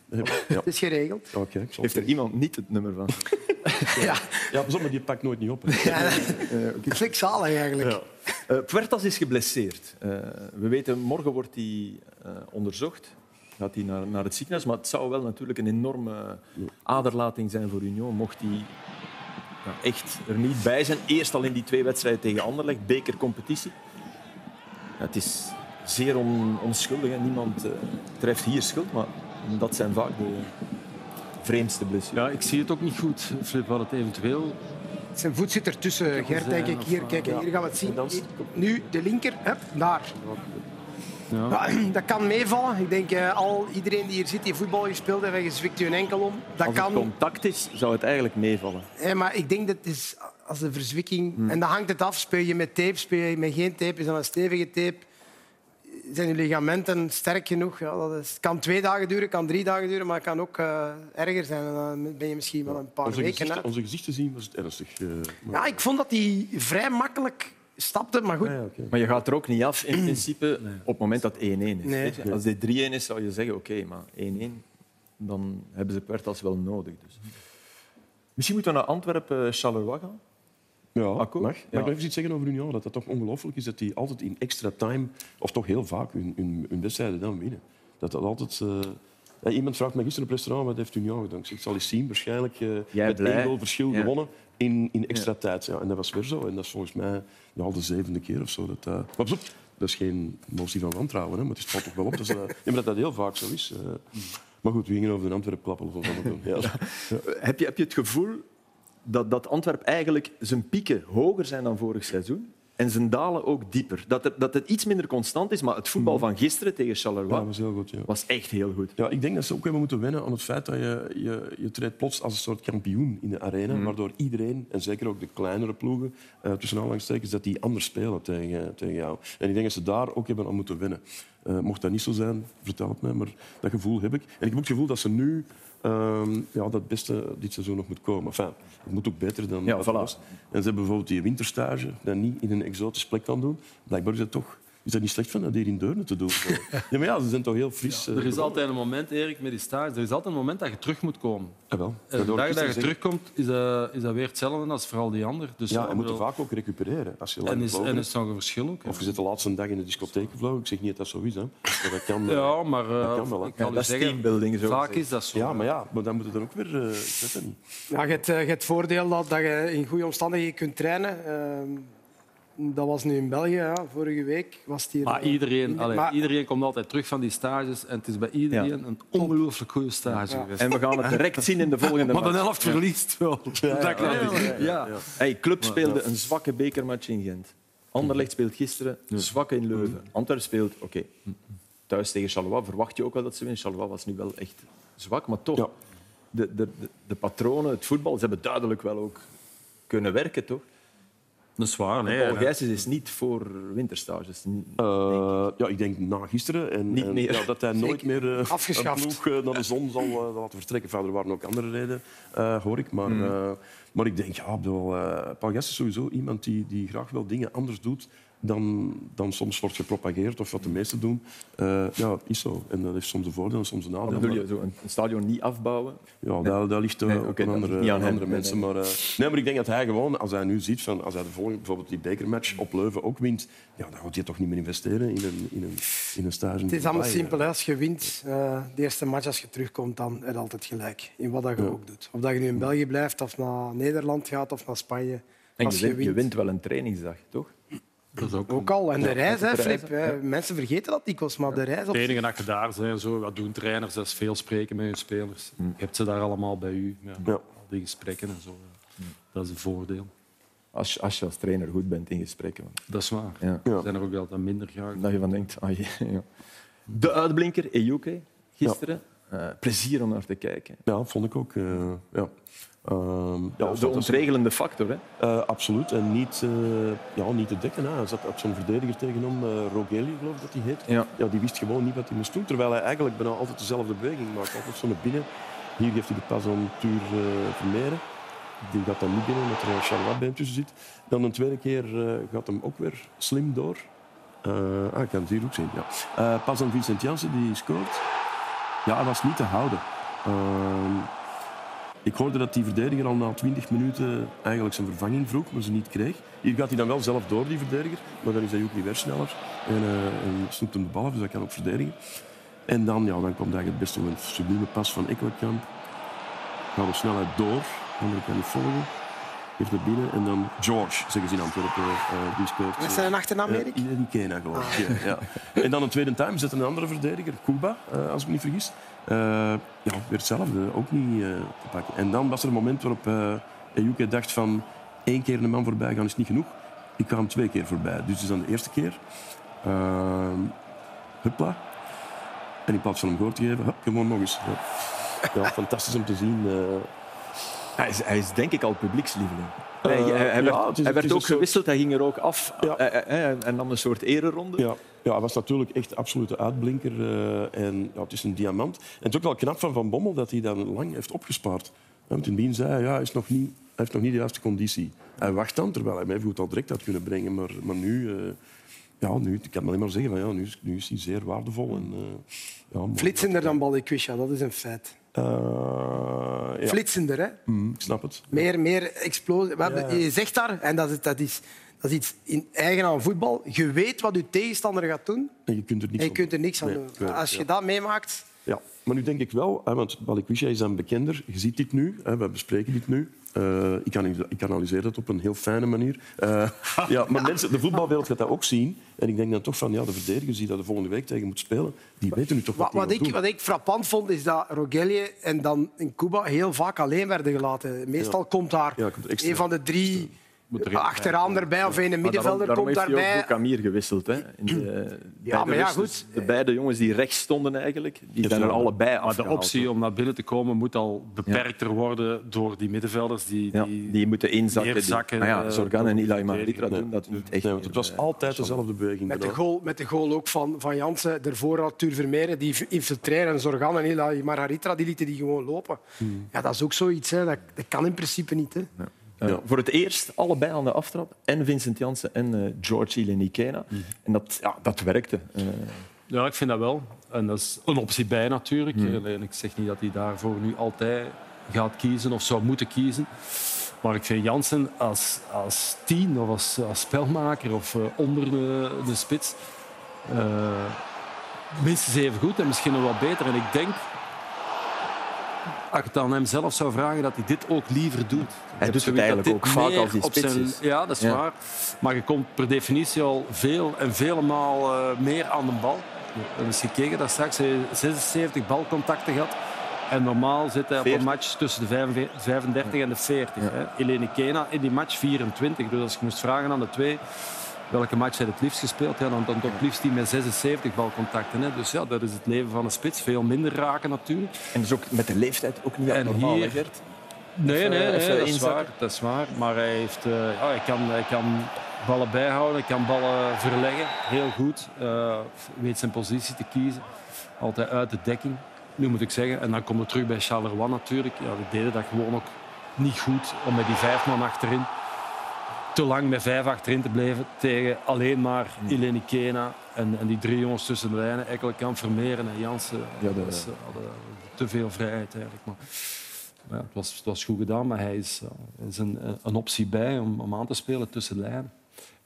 S3: ja.
S2: Het is geregeld.
S3: Oké, ik zal-
S1: Heeft er iemand niet het nummer van?
S2: Ja,
S3: Ja, pas op, maar die pakt nooit niet op. hè.
S2: klikzalig eigenlijk. Ja.
S1: Eh Puertas is geblesseerd. Eh, we weten, morgen wordt hij eh, onderzocht. Gaat hij naar, naar het ziekenhuis. Maar het zou wel natuurlijk een enorme aderlating zijn voor Union. Mocht hij ja, echt er niet bij zijn. Eerst al in die twee wedstrijden tegen Anderlecht. Bekercompetitie. Ja, het is zeer on- onschuldig. Hè. Niemand eh, treft hier schuld. Maar dat zijn vaak de vreemdste blessures.
S4: ja, ik zie het ook niet goed, Flip, wat het eventueel...
S2: Zijn voet zit ertussen, Gert, denk ik. Hier, kijk, hier gaan we het zien. Hier, Nu de linker, hup, daar. Ja, dat kan meevallen. Ik denk, eh, al iedereen die hier zit, die voetbal gespeeld heeft, en je zwikt je een enkel om. Dat
S1: Als het
S2: kan.
S1: contact is, zou het eigenlijk meevallen.
S2: Hé, maar ik denk dat het is als de verzwikking. En dan hangt het af. Speel je met tape, speel je met geen tape? Is dat een stevige tape? Zijn je ligamenten sterk genoeg? Ja, dat is, het kan twee dagen duren, kan drie dagen duren, maar het kan ook eh, erger zijn. En dan ben je misschien wel een paar
S3: Onze
S2: weken
S3: gezichten,
S2: uit.
S3: onze gezichten zien was het ernstig. eh, maar-
S2: Ja, ik vond dat hij vrij makkelijk stapte, maar goed.
S3: Ja, oké.
S1: Maar je gaat er ook niet af in principe op het moment dat het 1-1 is.
S2: Nee.
S1: Weet je, Als dit 3-1 is, zou je zeggen: oké, maar 1-1, dan hebben ze Puertas wel nodig. Dus. Misschien moeten we naar Antwerpen, eh, Charleroi gaan.
S3: Ja,
S1: Akkoord?
S3: mag.
S1: Ja.
S3: Mag ik nog even iets zeggen over Union? Dat dat toch ongelooflijk is dat die altijd in extra time, of toch heel vaak, hun, hun, hun wedstrijden dan winnen. Dat dat altijd... eh, ja, iemand vraagt mij gisteren op het restaurant wat heeft Union gedaan. Ik zeg, ik zal eens zien, waarschijnlijk eh,
S1: Jij
S3: met
S1: blij.
S3: één goal verschil
S1: Ja.
S3: gewonnen in, in extra tijd. Ja, en dat was weer zo. En dat is volgens mij ja, al de zevende keer of zo. Dat, eh, maar pas op, dat is geen motie van wantrouwen, hè, maar het valt toch wel op dat, ze dat- ja, maar dat dat heel vaak zo is. eh. maar goed, we gingen over de Antwerp klappen. Of wat we doen. Ja.
S1: Heb je, heb je het gevoel dat, dat Antwerp eigenlijk zijn pieken hoger zijn dan vorig seizoen? En zijn dalen ook dieper. Dat, er, dat het iets minder constant is, maar het voetbal van gisteren tegen
S3: Mm. Ja,
S1: Charleroi
S3: dat was heel goed, ja.
S1: was echt heel goed.
S3: Ja, ik denk dat ze ook hebben moeten wennen aan het feit dat je, je, je treedt plots als een soort kampioen in de arena, waardoor iedereen, en zeker ook de kleinere ploegen, eh tussen aanhalingstekens, dat die anders spelen tegen, tegen jou. En ik denk dat ze daar ook hebben aan moeten wennen. Eh, mocht dat niet zo zijn, vertel het mij, maar dat gevoel heb ik. En ik heb ook het gevoel dat ze nu ehm, ja, dat beste dit seizoen nog moet komen. Enfin, het moet ook beter dan
S1: Ja,
S3: wat
S1: voilà.
S3: het was. En ze hebben bijvoorbeeld die winterstage dat niet in een exotisch plek kan doen. Blijkbaar is dat toch Is dat niet slecht van dat hier in Deurne te doen? ja, maar ja, ze zijn toch heel fris. eh,
S4: Er is altijd een moment, Erik, met die stage, er is altijd een moment dat je terug moet komen.
S3: Ah, wel.
S4: En de
S3: hoor ik
S4: dag dat je
S3: gisteren zeggen.
S4: Eh, terugkomt, is dat, is dat weer hetzelfde als vooral die ander. Dus
S3: Ja, je moet er
S4: bedoel-
S3: vaak ook recupereren. Als je lang
S4: en is,
S3: gevlogen
S4: en
S3: hebt.
S4: is zo'n verschil ook. hè.
S3: Of je zit de laatste dag in de discotheek gevlogen. Ik zeg niet dat dat zo is, hè. Maar dat kan. eh,
S4: Ja, maar eh,
S3: Dat kan wel, hè.
S4: ik kan
S1: dat
S4: u
S1: is
S4: zeggen,
S1: teambuilding. Zo
S4: vaak is dat zo.
S3: ja, maar ja, maar dan moet je er ook weer... eh, ik weet dat niet.
S2: Ja, je, hebt, eh, je hebt het voordeel dat, dat je in goede omstandigheden kunt trainen. Ehm, dat was nu in België, ja. vorige week was het hier. eh,
S4: Maar iedereen,
S2: Maar-
S4: allee, iedereen komt altijd terug van die stages en het is bij iedereen een ongelooflijk goede stage geweest.
S1: En we gaan het direct zien in de volgende
S4: Maar de
S1: match.
S4: helft verliest wel. Dat kan niet. Ja.
S1: Hey, club speelde een zwakke bekermatch in Gent. Anderlecht speelt gisteren zwakke in Leuven. Antwerp speelt, oké, thuis tegen Charleroi. Verwacht je ook wel dat ze winnen. Charleroi was nu wel echt zwak, maar toch.
S3: Ja.
S1: De, de, de, de patronen, het voetbal, ze hebben duidelijk wel ook kunnen werken, toch?
S4: Dat is waar.
S1: Paul Gijsens is niet voor winterstages. N-
S3: Eh, ja, ik denk na gisteren. En,
S1: Niet
S3: en,
S1: meer.
S3: ja, dat hij nooit meer eh,
S2: Afgeschaft.
S3: een ploeg eh, naar de zon zal eh, laten vertrekken. Enfin, er waren ook andere redenen, eh, hoor ik. Maar, eh, maar ik denk, ja, ik bedoel, eh, Paul Gast is sowieso iemand die, die graag wel dingen anders doet dan, dan soms wordt gepropageerd of wat de meesten doen. Eh, ja, is zo. En dat heeft soms een voordeel en soms een nadeel.
S1: Wat bedoel
S3: Maar-
S1: je, zo een, een stadion niet afbouwen?
S3: ja, dat, dat ligt eh,
S1: Nee,
S3: op
S1: oké,
S3: een
S1: dat
S3: andere,
S1: ligt niet aan
S3: aan
S1: hem.
S3: andere
S1: Nee,
S3: mensen. Maar, eh, nee, maar ik denk dat hij gewoon, als hij nu ziet, van, als hij de volgende, bijvoorbeeld die bekermatch op Leuven ook wint, ja, dan gaat hij toch niet meer investeren in een, in een, in een stage.
S2: Het is allemaal simpel. hè. Als je wint, eh, de eerste match als je terugkomt, dan heb je altijd gelijk. In wat dat je ook doet. Of dat je nu in België blijft, of naar Nederland gaat, of naar Spanje.
S1: En
S2: als
S1: je wint, je wint wel een trainingsdag, toch?
S4: Dat is ook
S2: Ook al. En de reis, hè,
S1: de reis,
S2: Flip. hè. Mensen vergeten dat dikwijls, maar de reis... Op...
S4: Het enige dat je daar zijn, zo, wat doen trainers? Dat is veel spreken met hun spelers. Je hebt ze daar allemaal bij u. Ja.
S3: Mm. Ja. Mm.
S4: Al die gesprekken en zo. ja. Dat is een voordeel.
S1: Als, je- als je als trainer goed bent in gesprekken. want
S4: Dat is waar.
S1: Ja.
S4: Er zijn er ook altijd minder graag.
S1: Dat je van denkt, ah, ja, ja. De uitblinker, Ejuke, gisteren. Eh, plezier om naar te kijken.
S3: Ja, vond ik ook. eh, ja. Ehm, ja,
S1: de ontregelende factor, hè?
S3: Eh, absoluut. En niet, eh, ja, niet te dekken. Hè. Hij zat op zo'n verdediger tegen hem, eh, Rogelio, geloof ik dat hij heet.
S1: Ja.
S3: die wist gewoon niet wat hij moest doen. Terwijl hij eigenlijk bijna altijd dezelfde beweging maakt. Altijd zo naar binnen. Hier geeft hij de pas aan Tuur eh Vermeeren. Die gaat dan niet binnen, omdat er een Charlotte bij hem tussen zit. Dan een tweede keer eh, gaat hem ook weer slim door. Eh, ah, ik kan het hier ook zien. Ja. Eh, pas aan Vincent Janssen, die scoort. Ja, hij was niet te houden. Ehm, ik hoorde dat die verdediger al na 20 minuten eigenlijk zijn vervanging vroeg, maar ze niet kreeg. Hier gaat hij dan wel zelf door, die verdediger, maar dan is hij ook niet weer sneller. En, eh en snoept hem de bal af, dus dat kan ook verdedigen. En dan, ja, dan komt eigenlijk het beste moment. Sublieme pas van Ekkelkamp. Gaat op snelheid door, anderen kan niet volgen. Geeft naar binnen en dan George, zeggen ze in Antwerpen, eh, die speelt.
S2: Wat is zijn achternaam,
S3: Eh,
S2: Erik?
S3: in Kena, geloof ik. Ja, ja. En dan een tweede time zet een andere verdediger, Cuba, eh, als ik me niet vergis. Eh, ja, weer hetzelfde, ook niet eh, te pakken. En dan was er een moment waarop eh Ejuke dacht van... één keer een man voorbij gaan is niet genoeg. Ik ga hem twee keer voorbij. Dus dat is dan de eerste keer. Eh, hupla. En in plaats van hem gehoord te geven, hup, gewoon nog eens. Ja, Ja, fantastisch om te zien. eh,
S1: Hij is, hij is denk ik al publiekslieveling. hij
S3: Eh,
S1: hij- hij
S3: ja,
S1: werd,
S3: het is-
S1: hij
S3: het
S1: werd ook
S3: is een soort-
S1: gewisseld, hij ging er ook af.
S3: Ja.
S1: Eh, eh, eh, en nam een soort ereronde.
S3: Ja, ja, hij was natuurlijk echt absolute uitblinker. eh, en ja, het is een diamant. En het is ook wel knap van Van Bommel dat hij dat lang heeft opgespaard. Ja, Want in het begin zei hij, ja, hij, is nog niet, hij heeft nog niet de juiste conditie. Hij wacht dan, terwijl hij hem even goed al direct had kunnen brengen. Maar, maar nu, eh, ja, nu, ik kan alleen maar zeggen, van, ja, nu, is, nu is hij zeer waardevol. En, eh, ja, maar-
S2: Flitsender dan Balikwisha, dat is een feit.
S3: Eh, ja,
S2: Flitsender, hè?
S3: mm, ik snap het.
S2: Meer, meer explosie. We hebben- Je zegt daar, en dat is, dat is, dat is iets in eigen aan voetbal. Je weet wat je tegenstander gaat doen
S3: En je kunt er niks
S2: en je
S3: aan
S2: kunt er niks aan
S3: Nee,
S2: doen.
S3: ik weet het,
S2: Als je
S3: ja.
S2: dat meemaakt,
S3: Ja, maar nu denk ik wel, hè, want Balikwisha is dan bekender. Je ziet dit nu, hè, we bespreken dit nu. Eh, ik, kan, ik analyseer dat op een heel fijne manier. Eh, ja, maar mensen, de voetbalwereld gaat dat ook zien. En ik denk dan toch van, ja, de verdedigers die daar de volgende week tegen moet spelen, die weten nu toch
S2: Wat,
S3: wat, die
S2: wat,
S3: gaan
S2: ik,
S3: doen.
S2: wat ik frappant vond, is dat Rogelje en dan in Cuba heel vaak alleen werden gelaten. Meestal komt daar
S3: Ja, komt extra.
S2: een van de drie
S4: erin
S2: achteraan erbij of een
S1: Maar daarom,
S2: middenvelder
S1: daarom
S2: komt
S1: heeft hij ook
S2: daarbij.
S1: Boekamir gewisseld. Hè? In de,
S2: Ja,
S1: beide
S2: maar ja,
S1: wissels.
S2: goed.
S1: De beide jongens die rechts stonden eigenlijk, die zijn
S3: zo.
S1: er allebei
S4: Maar de
S1: afgehaald,
S4: optie om naar binnen te komen moet al beperkter worden door die middenvelders die,
S1: Ja,
S4: die,
S1: die moeten inzakken. die-
S4: neerzakken,
S1: Maar ja,
S4: eh,
S1: Zorgan en Ilai Mahditra
S3: Nee.
S1: doen dat niet echt.
S3: Nee, want het
S1: meer.
S3: was altijd dezelfde beweging.
S2: Met de,
S3: bijna.
S2: goal, met de goal ook van, van Jansen. Daarvoor had Tuur Vermeeren die infiltreren en Zorgan en
S1: Hmm.
S2: Hila Margarita, die lieten die gewoon lopen. Ja, dat is ook zoiets. Hè. Dat, dat kan in principe niet. Hè.
S1: Uh,
S3: Ja.
S1: Voor het eerst allebei aan de aftrap. En Vincent Janssen en eh, George Ilenikena.
S4: Mhm.
S1: En dat, ja, dat werkte. Eh,
S4: Ja, ik vind dat wel. En dat is een optie bij natuurlijk.
S1: Hmm.
S4: Alleen, ik zeg niet dat hij daarvoor nu altijd gaat kiezen of zou moeten kiezen. Maar ik vind Jansen als, als tien of als, als spelmaker of eh, onder de, de spits eh, minstens even goed en misschien nog wat beter. En ik denk, als ik het aan hem zelf zou vragen, dat hij dit ook liever doet. Ik heb
S1: doet het
S4: zoiets dat
S1: eigenlijk
S4: dit
S1: ook vaak
S4: meer
S1: als hij
S4: op
S1: spits
S4: zijn-
S1: is.
S4: Ja, dat is
S1: Ja.
S4: waar. Maar je komt per definitie al veel en vele maal eh, meer aan de bal. En dus je keek dat straks, hij 76 balcontacten gehad. En normaal zit hij op een
S1: 40.
S4: match tussen de 45 35 en de 40. hè. Eleni Kena in die match 24. Dus als ik moest vragen aan de twee welke match hij het liefst gespeeld, ja, dan dan toch het liefst die met 76 balcontacten. Hè. Dus ja, dat is het leven van een spits. Veel minder raken natuurlijk.
S1: en dus ook met de leeftijd ook niet
S4: En
S1: normaal,
S4: hier-
S1: hè, Gert?
S4: Nee,
S1: Even-
S4: nee, nee,
S1: even
S4: dat, is
S1: inzakken.
S4: waar, dat is waar. Maar hij, heeft, eh, ja, hij, kan, hij kan ballen bijhouden, hij kan ballen verleggen. Heel goed. Eh, weet zijn positie te kiezen. Altijd uit de dekking, nu moet ik zeggen. En dan komen we terug bij Charleroi natuurlijk. Ja, die deden dat gewoon ook niet goed om met die vijf man achterin te lang met vijf achterin te blijven tegen alleen maar
S1: Mm.
S4: Eleni Kena en, en die drie jongens tussen de lijnen. Ekkelenkamp, Vermeeren en Jansen.
S1: Ja, dat-
S4: Ze hadden te veel vrijheid eigenlijk. Maar, ja, het, was, het was goed gedaan, maar hij is, eh, is een, eh, een optie bij om, om aan te spelen tussen de lijnen.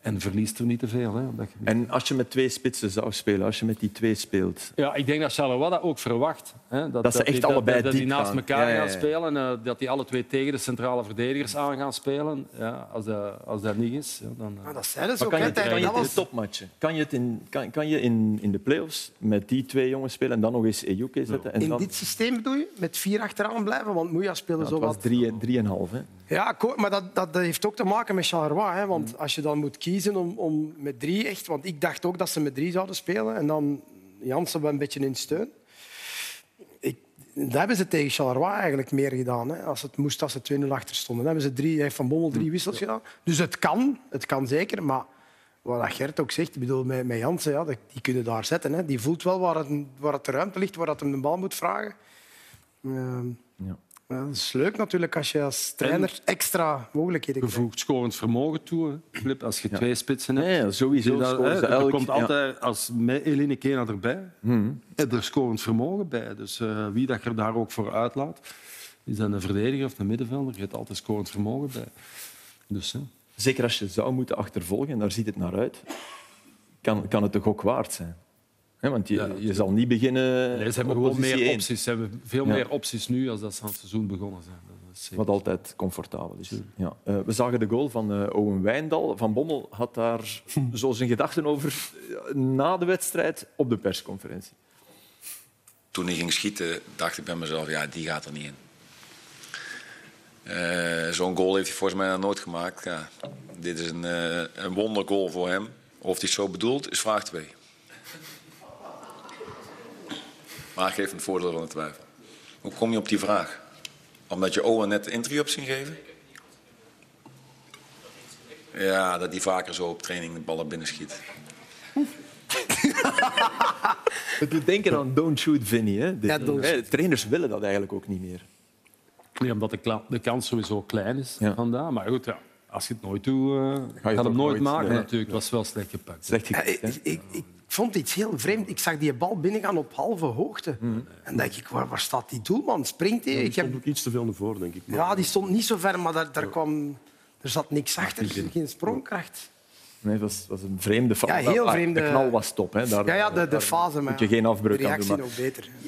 S4: En verliest er niet te veel. Hè, omdat je-
S1: En als je met twee spitsen zou spelen, als je met die twee speelt...
S4: ja, ik denk dat Charleroi dat ook verwacht. Hè?
S1: Dat ze
S4: die-
S1: echt allebei
S4: dat, dat die
S1: diep
S4: naast
S1: gaan.
S4: elkaar
S1: Ja, ja, ja.
S4: gaan spelen. eh, dat die alle twee tegen de centrale verdedigers aan gaan spelen. Ja, als, dat, als dat niet is, ja, dan... eh,
S2: Ah, dat zeiden ze
S1: Maar
S2: ook.
S1: kan je
S2: hè,
S1: het, kan je
S2: tijdens- Dat
S1: het in de
S2: was
S1: topmatchen? Kan je, het in, kan, kan je in, in de play-offs met die twee jongens spelen en dan nog eens Ejuke zetten? En
S2: in
S1: dan,
S2: dit systeem bedoel je? Met vier achteraan blijven? Want Moeja speelde
S1: Ja,
S2: zo
S1: het was
S2: wat...
S1: drie, drieënhalf, hè?
S2: Ja, akkoord, maar dat, dat, dat heeft ook te maken met Charleroi. Hè, want als je dan moet kiezen om, om met drie echt... Want ik dacht ook dat ze met drie zouden spelen. En dan Jansen wel een beetje in steun. Ik, dat hebben ze tegen Charleroi eigenlijk meer gedaan. Hè. Als het moest, als ze 2-0 achter stonden. Dan hebben ze drie, heeft Van Bommel drie wissels gedaan. Dus het kan, het kan zeker. Maar wat dat Gert ook zegt, ik bedoel, met, met Jansen, ja, dat- die kunnen daar zetten. Hè. Die voelt wel waar, het, waar het de ruimte ligt, waar het hem de bal moet vragen. Ehm,
S1: Ja.
S2: ja, dat is leuk natuurlijk als je als trainer extra mogelijkheden krijgt.
S4: gevoegd scorend vermogen toe. hè, Flip, als je twee spitsen hebt.
S1: Nee, sowieso.
S4: Dat,
S1: scoren
S4: hè,
S1: ze
S4: er
S1: elk-
S4: komt
S1: ja. Hmm.
S4: altijd, als met Eline Kena erbij, heb er scorend vermogen bij. Dus eh, wie dat je er daar ook voor uitlaat, is dat een verdediger of een middenvelder, je hebt altijd scorend vermogen bij. Dus, hè.
S1: Zeker als je zou moeten achtervolgen, en daar ziet het naar uit, kan, kan het de gok waard zijn. Hè, want je,
S4: Ja,
S1: je zal niet beginnen.
S4: Nee, ze hebben
S1: op
S4: gewoon
S1: positie
S4: meer
S1: één,
S4: opties. Ze hebben veel
S1: Ja.
S4: meer opties nu als dat ze aan het seizoen begonnen zijn. Dat is zeker.
S1: Wat altijd comfortabel is. Ja. Eh, we zagen de goal van eh, Owen Wijndal. Van Bommel had daar zo zijn gedachten over eh, na de wedstrijd op de persconferentie.
S10: Toen hij ging schieten, dacht ik bij mezelf, ja, die gaat er niet in. Eh, Zo'n goal heeft hij volgens mij nog nooit gemaakt. Ja, dit is een, eh een wondergoal voor hem. Of hij het zo bedoelt, is vraag 2. Maar ik geef hem het voordeel van de twijfel. Hoe kom je op die vraag? Omdat je Owen net de interview hebt zien geven? Ja, dat hij vaker zo op training de ballen binnen schiet.
S1: Het doet denken aan Don't Shoot Vinny. Hè? dit.
S2: Ja, don't
S1: Hè, trainers willen dat eigenlijk ook niet meer.
S4: Nee, omdat de, kla- de kans sowieso klein is
S1: Ja.
S4: vandaag. Maar goed, ja, als je het nooit doet, eh, gaat
S1: het
S4: hem
S1: ook
S4: nooit
S1: nooit-
S4: maken
S1: nee.
S4: natuurlijk. Het was wel slecht gepakt.
S1: Slecht
S2: Ja, eh,
S1: gekikt,
S2: ik,
S1: hè?
S2: ik, ik, ik vond iets heel vreemd. Ik zag die bal binnengaan op halve hoogte.
S1: Mm.
S2: En dacht ik, waar, waar staat die doelman? Springt hij?
S3: Ik
S2: Ik heb,
S3: stond ook iets te veel naar voren, denk ik. Maar- eh,
S2: ja, die stond niet zo ver, maar daar, daar, kwam, er zat niks achter. Geen sprongkracht.
S1: Nee, dat was, was een vreemde fout.
S2: Ja, heel
S1: Ah,
S2: vreemde-
S1: De knal was top. Hè? Daar,
S2: Ja, ja de, de
S1: daar
S2: fase. Maar
S1: moet je geen afbreuk
S2: de
S1: aan doen.
S2: reactie
S1: maar-
S2: nog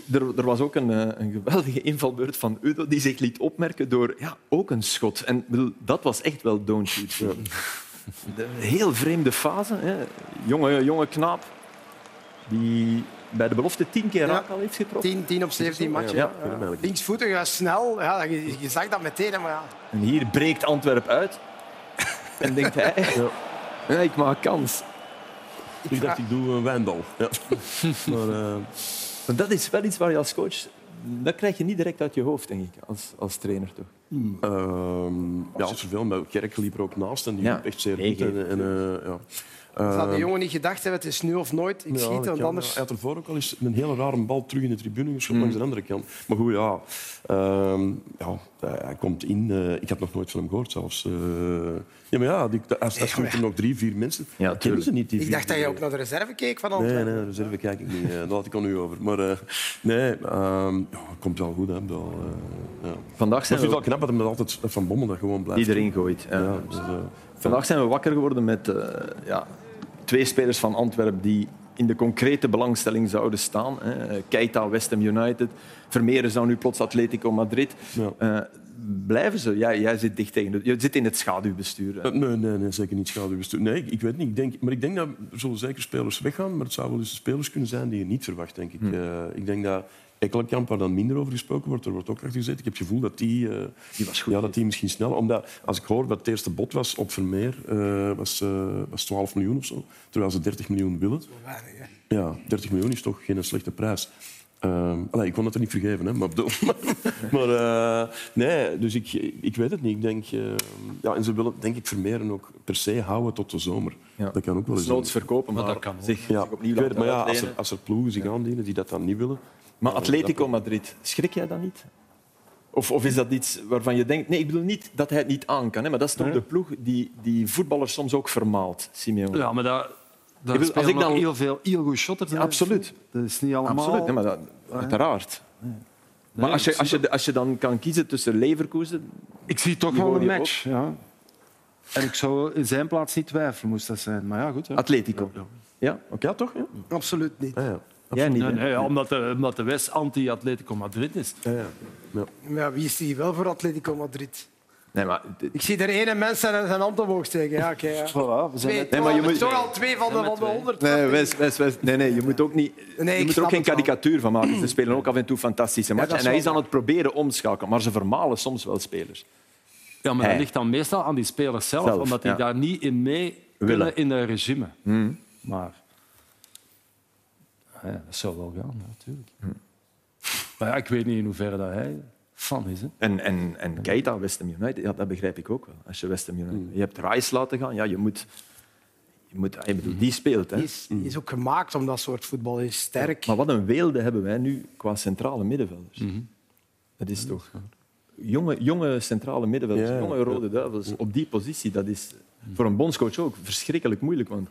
S2: beter.
S1: Er, er was ook een, eh, een geweldige invalbeurt van Udo die zich liet opmerken door ja, ook een schot. En ik bedoel, dat was echt wel don't shoot. De heel vreemde fase. Hè. Jonge, jonge knaap die bij de belofte tien keer raak al heeft getroffen.
S2: 10, 10 op 17 matchen.
S1: Ja,
S2: Ja, ja. Linksvoetig, ja, snel. Ja, je, je zag dat meteen. hè, Maar ja.
S1: En hier breekt Antwerp uit. En denkt hij, ja, ik maak kans.
S3: Ik dacht, ik doe een wijnbal. Ja. maar, eh,
S1: Want dat is wel iets waar je als coach... Dat krijg je niet direct uit je hoofd, denk ik, als, als trainer toch?
S3: Ehm ja, zoveel. Maar Kerk liep er ook naast en die
S1: Ja.
S3: liep echt zeer goed.
S1: Negen.
S3: En, en, eh, ja.
S2: Dat had de jongen niet gedacht hebben, het is nu of nooit. Ik
S3: Ja,
S2: schiet,
S3: dat
S2: want
S3: kan.
S2: anders... Mm.
S3: Hij had ervoor ook al eens een hele rare bal terug in de tribune geschoten langs de andere kant. Maar goed, ja. Ehm, ja hij- hij komt in. Eh, ik had nog nooit van hem gehoord zelfs. Eh, ja, maar ja, die, als, als er nog drie, vier mensen... Ja, dat kennen ze niet, die
S2: Ik
S3: vier.
S2: dacht dat je ook naar de reserve keek van Antwerpen.
S3: Nee, nee, de reserve kijk ik niet. eh, Daar laat ik al nu over. Maar eh, nee, ehm, ja, het komt wel goed. Hè, ik bedoel, eh, ja.
S1: Vandaag zijn
S3: maar
S1: we-
S3: het is wel knap dat hem dat altijd eh, van Bommel dat gewoon blijft.
S1: Die erin
S3: doen.
S1: gooit, ja.
S3: dus, eh,
S1: Vandaag zijn we wakker geworden met eh, ja, twee spelers van Antwerpen die in de concrete belangstelling zouden staan. Hè. Keita, West Ham United. Vermeeren zou nu plots Atletico Madrid. Eh, blijven ze? Jij, jij zit dicht tegen het, je zit in het schaduwbestuur. hè.
S3: Eh, Nee, nee, nee, zeker niet schaduwbestuur. Nee, ik, ik weet niet. Ik denk, maar ik denk dat er zullen zeker spelers weggaan, maar het zou wel eens spelers kunnen zijn die je niet verwacht, denk ik. Eh, ik denk dat Ekkelenkamp, waar dan minder over gesproken wordt, er wordt ook achter gezet. Ik heb het gevoel dat die, eh, Ja, dat die misschien snel... Omdat, als ik hoor wat het eerste bod was op Vermeer, eh, was, eh, was 12 miljoen of zo. Terwijl ze 30 miljoen willen. Ja, 30 miljoen is toch geen slechte prijs. Ehm, allee, ik kon het er niet vergeven, hè, maar, bedoel- maar eh, nee, dus ik, ik weet het niet. Ik denk, eh, ja, en ze willen denk ik vermeren ook per se houden tot de zomer. Dat kan ook wel eens.
S1: Desnoods verkopen, maar,
S4: Maar dat kan ook.
S1: zich,
S3: Ja,
S1: zich opnieuw
S3: ik weet het, maar
S1: laten
S3: ja, als er,
S1: uitlenen.
S3: als er ploegen zich aandienen die dat dan niet willen.
S1: Maar Atletico Madrid, schrik jij dan niet? Of, of is dat iets waarvan je denkt... Nee, ik bedoel niet dat hij het niet aan kan, hè, maar dat is toch de ploeg die, die voetballers soms ook vermaalt, Simeone.
S4: Ja, maar daar, daar
S1: Ik wil-
S4: spelen
S1: als ik
S4: nog
S1: dan-
S4: heel veel heel goede shotters.
S1: Ja,
S4: in.
S1: absoluut.
S6: Dat is niet allemaal...
S1: Absoluut, nee, maar dat, uiteraard. Maar als je, als, je, als je dan kan kiezen tussen Leverkusen...
S6: Ik zie toch
S1: Die
S6: wel een
S1: worden
S6: match. Ja. En ik zou in zijn plaats niet twijfelen, moest dat zijn. Maar ja, goed. Hè.
S1: Atletico. Ja, oké, toch? Ja?
S2: Absoluut niet.
S3: Ah, ja.
S1: Jij niet,
S4: Nee,
S1: hè?
S4: nee, ja, omdat, de, omdat de West anti-Atletico Madrid is.
S3: Ja, ja.
S2: Maar ja, wie is die wel voor Atletico Madrid?
S1: Nee, maar... dit-
S2: Ik zie er ene mens zijn, zijn hand omhoog steken. Ja, oké. ja.
S6: Voilà, we zijn
S2: Twee,
S6: net-
S1: Nee, maar je
S2: toch-
S1: moet-
S2: toch al twee van de, van de honderd.
S1: Nee, Wes, Wes, Wes. Nee, nee, je moet, ook niet,
S2: Nee,
S1: je
S2: ik
S1: moet er ook
S2: snap
S1: geen
S2: het wel.
S1: karikatuur van maken. Ze spelen ook af en toe fantastische matchen.
S2: dat is
S1: en hij is
S2: wel
S1: aan het proberen omschakelen, maar ze vermalen soms wel spelers.
S4: Ja, maar dat
S1: Hij.
S4: ligt dan meestal aan die spelers zelf,
S1: Zelf,
S4: omdat die
S1: ja.
S4: daar niet in mee
S1: Willen. Hmm.
S4: willen in hun regime. Maar ja, dat zou wel gaan, ja, natuurlijk.
S1: Hmm.
S4: Maar ja, ik weet niet in hoeverre dat hij fan is. Hè.
S1: En, en, en Keita, West Ham United, ja, dat begrijp ik ook wel. Als je West Ham United... Je hebt Rice laten gaan, ja, je moet... Je moet je bedoelt, die speelt, hè.
S2: Die is, die is ook gemaakt om dat soort voetbal. Die is sterk.
S1: Maar wat een weelde hebben wij nu qua centrale middenvelders.
S3: Mhm.
S1: Dat is toch... Jonge, jonge centrale middenvelders,
S3: Ja.
S1: jonge rode duivels, op die positie, dat is voor een bondscoach ook verschrikkelijk moeilijk. Want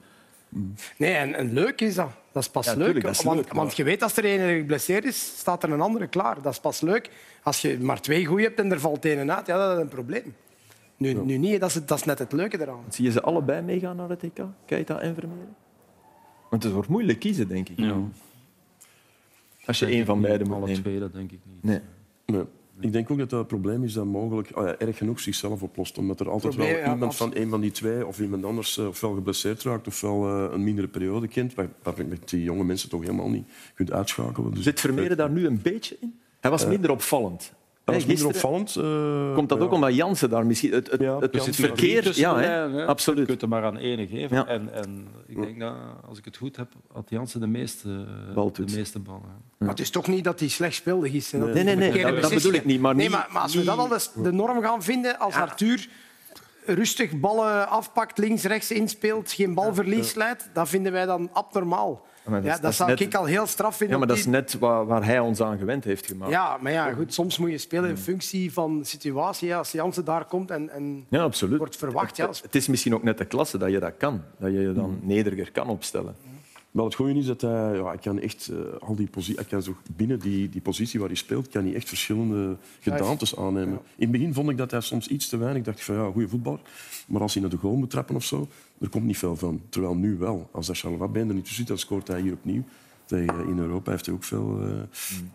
S2: Nee, en, en leuk is dat. Dat is pas
S1: Ja,
S2: leuk.
S1: tuurlijk, dat is
S2: want,
S1: leuk, maar-
S2: want je weet, als er een geblesseerd is, staat er een andere klaar. Dat is pas leuk. Als je maar twee goeie hebt en er valt één uit, ja, dat is een probleem. Nu, nu niet, dat is, het- dat is net het leuke eraan.
S1: zie je ze allebei meegaan naar het EK, Keita en Vermeeren? Want het wordt moeilijk kiezen, denk ik. Als je één van beiden moet
S4: Alle
S1: nemen.
S4: twee, dat denk ik niet.
S1: Nee.
S3: Nee. Ik denk ook dat dat het probleem is dat mogelijk ah ja, erg genoeg zichzelf oplost. Omdat er altijd
S2: Probleem,
S3: wel
S2: ja,
S3: iemand
S2: absoluut.
S3: van een van die twee of iemand anders eh, ofwel geblesseerd raakt ofwel eh, een mindere periode kent. Waar, waar je met die jonge mensen toch helemaal niet kunt uitschakelen. Dus
S1: Zit Vermeeren daar nu een beetje in? Hij was minder opvallend.
S3: Dat
S1: Hè,
S3: is minder
S1: gisteren
S3: opvallend. eh,
S1: Komt dat ook
S3: ja.
S1: omdat Jansen daar misschien... Het, het,
S3: Ja,
S1: het,
S3: er zit
S1: het
S3: wel
S1: verkeer... Ja, hè,
S4: Je
S1: absoluut.
S4: kunt er maar aan ene geven.
S1: Ja.
S4: En, en ik denk dat, als ik het goed heb, had Jansen de meeste,
S1: Baltoets.
S4: de meeste ballen.
S2: Maar het is toch niet dat hij slecht speelde gisteren.
S1: Hm. Nee, nee, nee,
S2: Verkeerde
S1: dat, dat bedoel
S2: beslissingen.
S1: ik niet. Maar,
S2: Nee,
S1: niet-
S2: maar, maar als we
S1: niet-
S2: dat al eens de norm gaan vinden, als Arthur rustig ballen afpakt, links, rechts inspeelt, geen balverlies leidt, dat vinden wij dan abnormaal.
S1: maar dat is-
S2: ja,
S1: dat
S2: dat
S1: is
S2: zou
S1: net-
S2: ik al heel straf vinden.
S1: Ja, maar
S2: op
S1: dat is
S2: die-
S1: net waar, waar hij ons aan gewend heeft gemaakt.
S2: Ja, maar ja, goed, soms moet je spelen in functie van situatie. Ja, als Jansen daar komt en, en
S1: Ja, absoluut.
S2: wordt verwacht. Ja,
S1: Het, het is misschien ook net de klasse dat je dat kan. Dat je je dan nederiger kan opstellen.
S3: Wel, het goede is dat hij, ja, hij kan echt eh, al die positie, hij kan zo binnen die, die positie waar hij speelt, kan hij echt verschillende gedaantes aannemen. In het begin vond ik dat hij soms iets te weinig dacht ik van ja, goede voetballer, maar als hij naar de goal moet trappen of zo, er komt niet veel van. Terwijl nu wel, als dat Charlevoix-Been er niet tussen zit, dan scoort hij hier opnieuw. Tegen- eh, In Europa heeft hij ook veel, eh,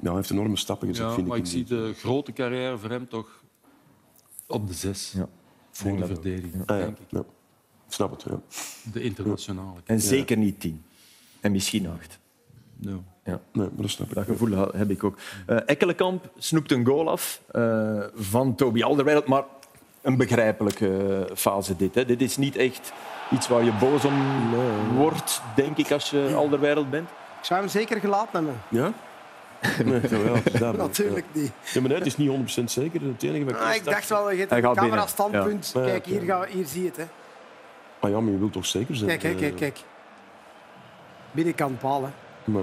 S3: ja, hij heeft enorme stappen
S1: Dus
S3: gezet,
S4: Mm. Ja,
S3: vind
S4: maar
S3: ik.
S4: ik zie de grote carrière voor hem toch op de zes.
S1: Ja.
S4: Voor de verdediging,
S3: Ah, ja.
S4: denk ik.
S3: Ja. Ik snap het, ja.
S4: De internationale.
S1: En zeker niet tien. En misschien acht.
S4: Ja.
S3: Nee, maar dat snap ik.
S1: Dat gevoel ha- heb ik ook. Eh Ekkelenkamp snoept een goal af eh, van Toby Alderweireld. Maar een begrijpelijke fase dit. Hè. Dit is niet echt iets waar je boos om wordt, denk ik, als je Alderweireld bent.
S2: Ik zou hem zeker gelaten hebben.
S3: Ja? Nee, ja, ja, daar ben ik, ja.
S2: Natuurlijk niet.
S3: Ja, maar nee, het is niet 100% zeker. Het enige wat ik
S2: Ah, ik dacht wel, je hebt
S1: Hij
S2: een
S1: gaat binnen.
S2: camera-standpunt.
S3: Ja.
S2: Kijk, hier, gaan we- hier zie je het. Hè.
S3: Ah ja, maar je wilt toch zeker zijn? eh,
S2: Kijk, kijk, kijk. kijk. Binnenkant paal, hè.
S3: Maar,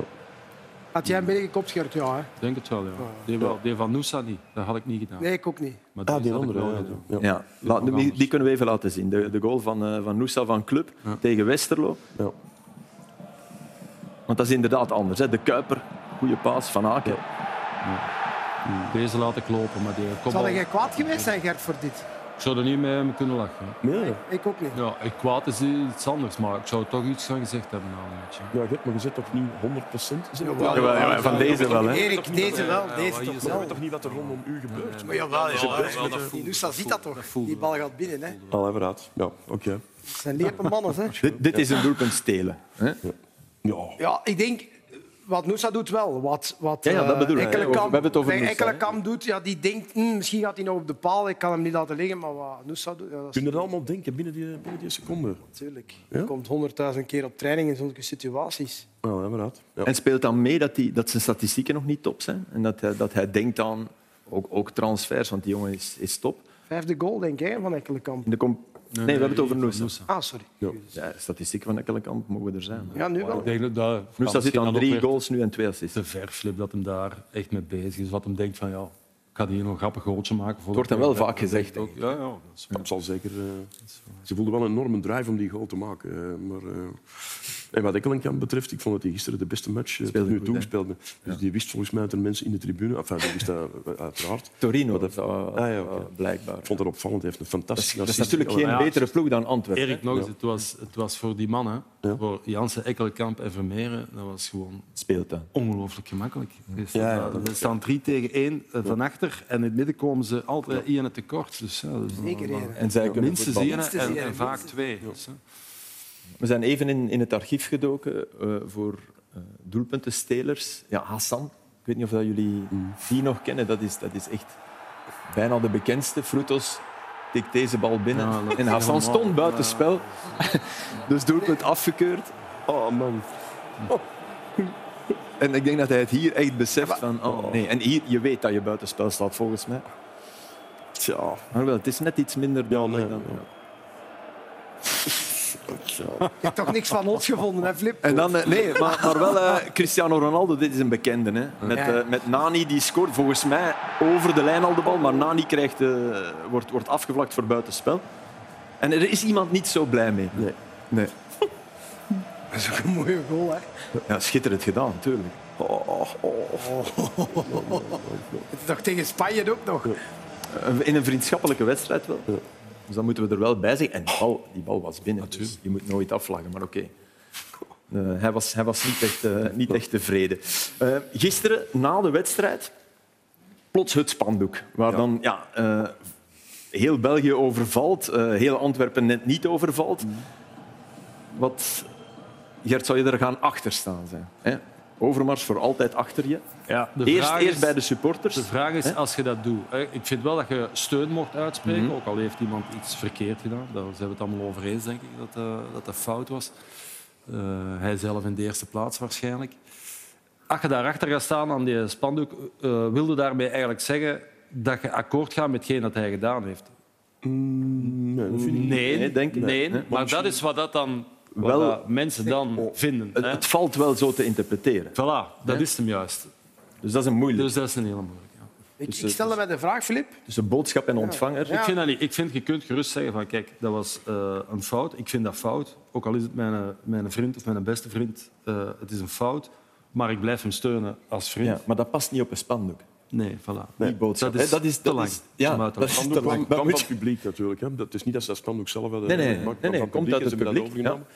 S2: Had
S1: Hmm.
S2: jij een binnenkant gehoord? Ja, hè.
S4: Ik denk het wel, ja. Die, wel, die van Noosa niet. Dat had ik niet gedaan.
S2: Nee, ik ook niet.
S4: Maar
S3: ah, die
S4: had ik
S3: andere.
S4: wel
S3: ja,
S4: gedaan.
S3: ja.
S1: Ja, laat- die, die kunnen we even laten zien. De, de goal van, eh van Noosa van Club tegen Westerlo.
S3: Ja.
S1: Want dat is inderdaad anders. Hè. De Kuiper, goede paas van Aken.
S4: Deze laat ik lopen, maar die kopbal...
S2: Zou jij
S4: Ik
S2: kwaad geweest zijn, Gert, voor dit?
S4: zou er niet mee kunnen lachen.
S3: Nee, ja.
S2: Ik ook niet.
S4: Ja, ik kwaad is iets anders, maar ik zou toch iets van gezegd hebben na een match. hè.
S3: Ja, Gert, maar je zit toch niet 100 procent?
S1: Ja, wel, ja, van deze wel. Hè.
S2: Erik, deze wel, deze toch
S3: Je
S2: wel.
S3: weet toch niet wat er rondom u gebeurt?
S2: Maar jawel,
S3: ja,
S2: ja,
S3: wel, dat
S2: Nusa ziet dat toch? Die bal gaat binnen, hè.
S3: Al even raad. Ja, oké.
S2: Het zijn lepe mannen, hè.
S1: Dit, dit is een doelpunt stelen. Hè?
S3: Ja.
S2: Ja, ik denk... Wat Noosa doet wel. Wat, wat
S1: Ja, ja, dat
S2: eh,
S1: bedoel ik.
S2: Ekkelenkamp-
S1: We hebben het over
S2: wat
S1: Noosa, hè.
S2: Ekkelenkamp doet, ja, die denkt... "Hm, misschien gaat hij nog op de paal, ik kan hem niet laten liggen. Maar wat Noosa doet, ja, dat is
S3: Kun je er allemaal denken binnen die, binnen die seconde?
S2: natuurlijk... Je komt honderdduizend keer op training in zulke situaties.
S3: Ja, inderdaad. Ja.
S1: En speelt dan mee dat, die, dat zijn statistieken nog niet top zijn. En dat hij, dat hij denkt aan ook, ook transfers, want die jongen is, is top.
S2: Vijfde goal, denk ik, hè, van Ekkelenkamp.
S1: In de comp- nee, we hebben het over Noosa.
S2: Ah, sorry.
S1: Ja, statistieken van elke kant mogen er zijn.
S2: Ja, nu wel.
S4: Ik denk dat dat...
S1: Noosa zit aan
S4: dat
S1: drie
S4: ook weer
S1: goals nu en twee assists.
S4: Te ver, Flip, dat hem daar echt mee bezig is. Wat hem denkt van, ja, ik ga hier nog een grappig goaltje maken. Voor
S1: Het wordt hem wel vaak gezegd.
S4: Ook, ja, ja. dat is-
S3: Dat zal zeker. eh, ze voelden wel een enorme drive om die goal te maken. eh, maar, eh, en wat Ekkelenkamp betreft, ik vond dat hij gisteren de beste match eh, tot
S1: Speelde
S3: nu
S1: goed,
S3: toe
S1: hè?
S3: speelde. Dus die wist volgens mij dat er mensen in de tribune. Enfin, die wist dat eh, uiteraard.
S1: Torino, dat, eh,
S3: dat- Ah, ja, oké.
S1: blijkbaar.
S3: Ik vond dat opvallend. Hij heeft een fantastische
S1: Dat is
S3: assist.
S1: natuurlijk geen
S4: Ja,
S1: betere ploeg dan Antwerpen.
S4: Erik, nog eens, het was, het was voor die mannen,
S3: Ja.
S4: voor Jansen, Ekkelkamp en Vermeeren, dat was gewoon
S1: Speelt dan.
S4: ongelooflijk gemakkelijk. Er staan,
S3: Ja, ja, dat-
S4: er staan drie tegen één eh, van achter en in het midden komen ze altijd één het tekort. Dus, ja, dat is-
S2: Zeker één.
S1: En zij kunnen
S4: Minstens
S1: voetballen.
S4: één en,
S2: Minstens één,
S4: en vaak
S2: minstens.
S4: twee. Dus, hè.
S1: We zijn even in, in het archief gedoken eh, voor eh, doelpuntenstelers. Ja, Hassan, ik weet niet of dat jullie die nog kennen. Dat is, dat is echt bijna de bekendste. Frutos tikt deze bal binnen.
S4: Ja, dat
S1: en
S4: is
S1: Hassan
S4: helemaal-
S1: stond buiten spel. dus doelpunt afgekeurd. Oh.
S3: Oh man.
S1: En ik denk dat hij het hier echt beseft. Van, oh, nee. En hier, je weet dat je buitenspel staat, volgens mij.
S3: Tja.
S1: Maar wel, het is net iets minder
S3: Ja, nee.
S1: duidelijk dan...
S3: ja. Tja.
S2: Je hebt toch niks van ons gevonden, hè, Flip?
S1: En dan, eh, nee, maar, maar wel eh, Cristiano Ronaldo, dit is een bekende. Hè? Met,
S2: Ja.
S1: eh, met Nani, die scoort volgens mij over de lijn al de bal, maar Nani krijgt, eh, wordt, wordt afgevlakt voor buitenspel. En er is iemand niet zo blij mee.
S3: Nee.
S1: nee.
S2: Dat is ook een mooie goal, hè.
S1: Ja, schitterend gedaan, natuurlijk.
S3: Oh, oh, oh.
S2: Het is toch tegen Spanje ook nog.
S1: In een vriendschappelijke wedstrijd wel. Dus dan moeten we er wel bij zijn. En die bal, die bal was binnen, dus je moet nooit afvlaggen, maar oké. Eh, hij, was, hij was niet echt, eh, niet echt tevreden. Eh, gisteren, na de wedstrijd, plots het spandoek. Waar dan ja, eh, heel België overvalt, eh, heel Antwerpen net niet overvalt. Wat, Gert, zou je er gaan achter staan zijn? Hè? Overmars voor altijd achter je.
S4: Ja, de
S1: Eerst,
S4: vraag
S1: eerst
S4: is-
S1: bij de supporters.
S4: De vraag is, als je dat doet... hè, Ik vind wel dat je steun mocht uitspreken,
S1: Mhm.
S4: ook al heeft iemand iets verkeerd gedaan. Daar zijn we het allemaal over eens, denk ik, dat eh, dat, dat fout was. Eh, hij zelf in de eerste plaats waarschijnlijk. Als je daarachter gaat staan aan die spandoek, eh, wilde daarmee eigenlijk zeggen dat je akkoord gaat met hetgeen dat hij gedaan heeft.
S3: Nee, dat vind ik niet.
S4: Nee,
S1: Nee, denk ik.
S4: nee,
S1: Nee.
S4: maar dat is wat dat dan, wat
S1: Wel- oh,
S4: dat mensen dan vinden.
S1: Het,
S4: hè.
S1: het valt wel zo te interpreteren.
S4: Voilà, dat is hem juist.
S1: Dus dat is een moeilijk.
S4: Dus dat is een hele moeilijke. ja.
S2: Ik, ik stelde mij de vraag, Filip.
S1: Tussen boodschap en ontvanger.
S4: Ik vind dat niet. Ik vind, je kunt gerust zeggen van kijk, dat was eh, een fout. Ik vind dat fout. Ook al is het mijn, eh, mijn vriend of mijn beste vriend, eh, het is een fout. Maar ik blijf hem steunen als vriend.
S1: Ja, maar dat past niet op een spandoek.
S4: Nee, voilà.
S1: Die boodschap.
S4: Dat is,
S1: hè. dat is
S4: te lang.
S1: ja,
S4: Om uit te
S1: dat is
S4: leggen.
S1: te
S3: Het kwam,
S1: lang.
S3: kwam van het
S1: Moet-
S3: publiek natuurlijk. Hè. Dat is niet dat ze dat spandoek zelf hadden eh,
S1: Nee, nee,
S3: gemaakt, maar
S1: nee, nee,
S3: van
S1: komt uit het
S3: en ze hebben dat
S1: publiek,
S3: overgenomen.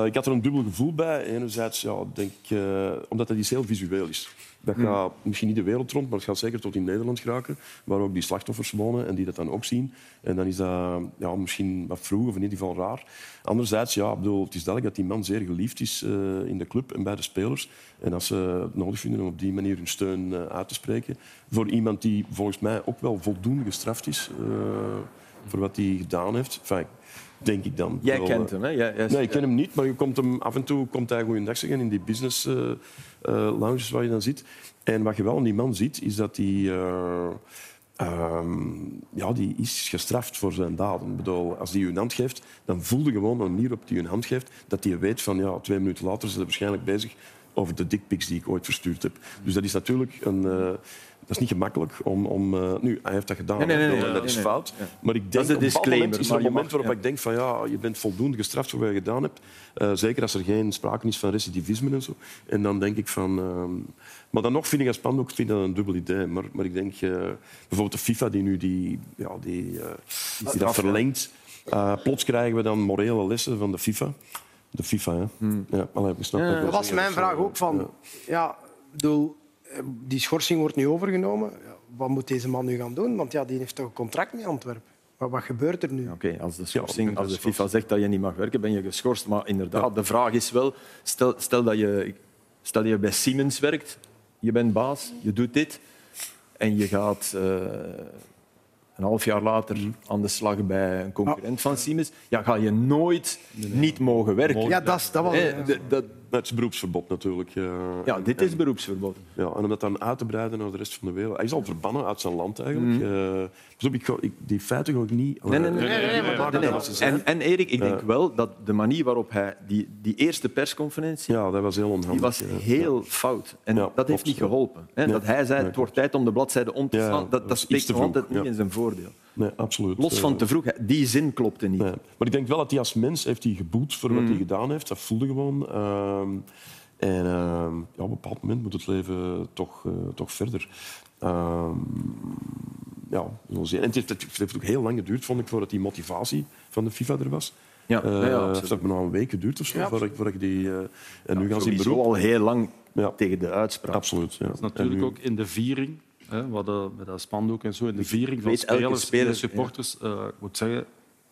S3: Eh, ik had er een dubbel gevoel bij. Enerzijds, ja, denk, ik, eh, omdat dat iets heel visueel is. Dat
S1: Hmm.
S3: gaat misschien niet de wereld rond, maar het gaat zeker tot in Nederland geraken, waar ook die slachtoffers wonen en die dat dan ook zien. En dan is dat ja, misschien wat vroeg of in ieder geval raar. Anderzijds, ja, ik bedoel, het is duidelijk dat die man zeer geliefd is eh, in de club en bij de spelers. En als ze het nodig vinden om op die manier hun steun eh, uit te spreken voor iemand die volgens mij ook wel voldoende gestraft is eh, voor wat hij gedaan heeft, enfin, denk ik dan.
S1: Jij
S3: Ik bedoel,
S1: kent hem, hè? Jij, jij-
S3: Nee, ik ken hem niet, maar je komt hem, af en toe komt hij goeiedag zeggen in die business eh, eh, lounges waar je dan zit. En wat je wel aan die man ziet, is dat hij... eh, Um, ja, die is gestraft voor zijn daden. Ik bedoel, als die je een hand geeft, dan voel je gewoon een manier op die je een hand geeft, dat die weet van ja, twee minuten later zijn ze waarschijnlijk bezig over de dickpics die ik ooit verstuurd heb. Dus dat is natuurlijk een. Uh, dat is niet gemakkelijk om... om uh, nu, hij heeft dat gedaan.
S1: Nee, nee, nee,
S3: hè,
S1: nee,
S3: dat is
S1: nee,
S3: fout.
S1: nee.
S3: Maar ik
S1: Dat
S3: denk
S1: is de
S3: op een bepaald moment
S1: disclaimer,
S3: is er
S1: maar
S3: een
S1: je
S3: moment
S1: mag-
S3: waarop
S1: ja.
S3: ik denk van ja, je bent voldoende gestraft voor wat je gedaan hebt. Eh, zeker als er geen sprake is van recidivisme en zo. En dan denk ik van... ehm, maar dan nog vind ik als spandoek vind ik dat een dubbel idee. Maar, maar ik denk eh, bijvoorbeeld de FIFA die nu die, ja, die, eh, die dat verlengt. eh, plots krijgen we dan morele lessen van de FIFA. De FIFA, hè?
S1: Hmm.
S3: Ja, allee, ik snap wat ik wil
S2: Dat was
S3: zeggen.
S2: mijn
S3: Dat is,
S2: vraag
S3: eh,
S2: ook. Van, ja, ik bedoel, eh, die schorsing wordt nu overgenomen. Ja, Wat moet deze man nu gaan doen? Want ja, die heeft toch een contract met Antwerpen. Maar wat gebeurt er nu?
S1: Oké, als de schorsing, als de FIFA zegt dat je niet mag werken, ben je geschorst. Maar inderdaad, de vraag is wel: stel, stel, dat je, stel dat je bij Siemens werkt, je bent baas, je doet dit en je gaat eh, een half jaar later aan de slag bij een concurrent van Siemens, ja, ga je nooit niet mogen werken.
S2: Ja, dat is- dat was-
S1: Eh, d- dat,
S3: Maar het is beroepsverbod natuurlijk. eh,
S1: ja,
S3: en-
S1: dit is
S3: en-
S1: beroepsverbod.
S3: Ja, en om dat dan uit te breiden naar de rest van de wereld. Hij is al verbannen uit zijn land eigenlijk. Eh, dus op, ik ga- ik- die feiten ga ik niet...
S1: Hmm. Nee, nee, nee.
S3: Eh,
S1: nee,
S3: maar
S1: nee,
S3: dat
S1: nee.
S3: was ze zijn.
S1: En, en Erik, ik denk
S3: Ja.
S1: wel dat de manier waarop hij die, die eerste persconferentie
S3: Ja, dat was heel onhandig.
S1: Die was
S3: eh.
S1: heel fout. En
S3: Ja,
S1: dat heeft
S3: klopt,
S1: niet
S3: ja.
S1: geholpen. Hè?
S3: Ja.
S1: Dat hij zei,
S3: Ja,
S1: het wordt tijd om de bladzijde om te
S3: Ja,
S1: slaan, dat,
S3: dat
S1: dat
S3: is iets
S1: spreekt
S3: te
S1: nog altijd
S3: vroeg,
S1: niet
S3: ja.
S1: in zijn voordeel.
S3: Nee, absoluut.
S1: Los van
S3: Eh,
S1: te vroeg, hè, die zin klopte niet.
S3: Nee. Maar ik denk wel dat hij als mens heeft hij geboet voor
S1: Mm.
S3: wat hij gedaan heeft. Dat voelde gewoon. Ehm, en ehm, ja, op een bepaald moment moet het leven toch, eh, toch verder. Ehm, ja, we zullen zien. en het heeft, het heeft ook heel lang geduurd, vond ik, voordat die motivatie van de FIFA er was.
S1: Ja,
S3: Eh,
S1: ja, ja,
S3: het
S1: absoluut.
S3: heeft bijna een week geduurd of zo, voordat ik- voordat ik die... eh, en nu gaan ze in
S1: Sowieso
S3: beroep.
S1: al heel lang
S3: Ja.
S1: tegen de uitspraak.
S3: Absoluut, ja.
S4: Dat is natuurlijk
S3: En nu-
S4: ook in de viering, hè, wat, eh, met dat spandoek en zo, in de viering van
S1: weet elke
S4: spelers
S1: speler,
S4: en supporters. eh, ik moet zeggen, ik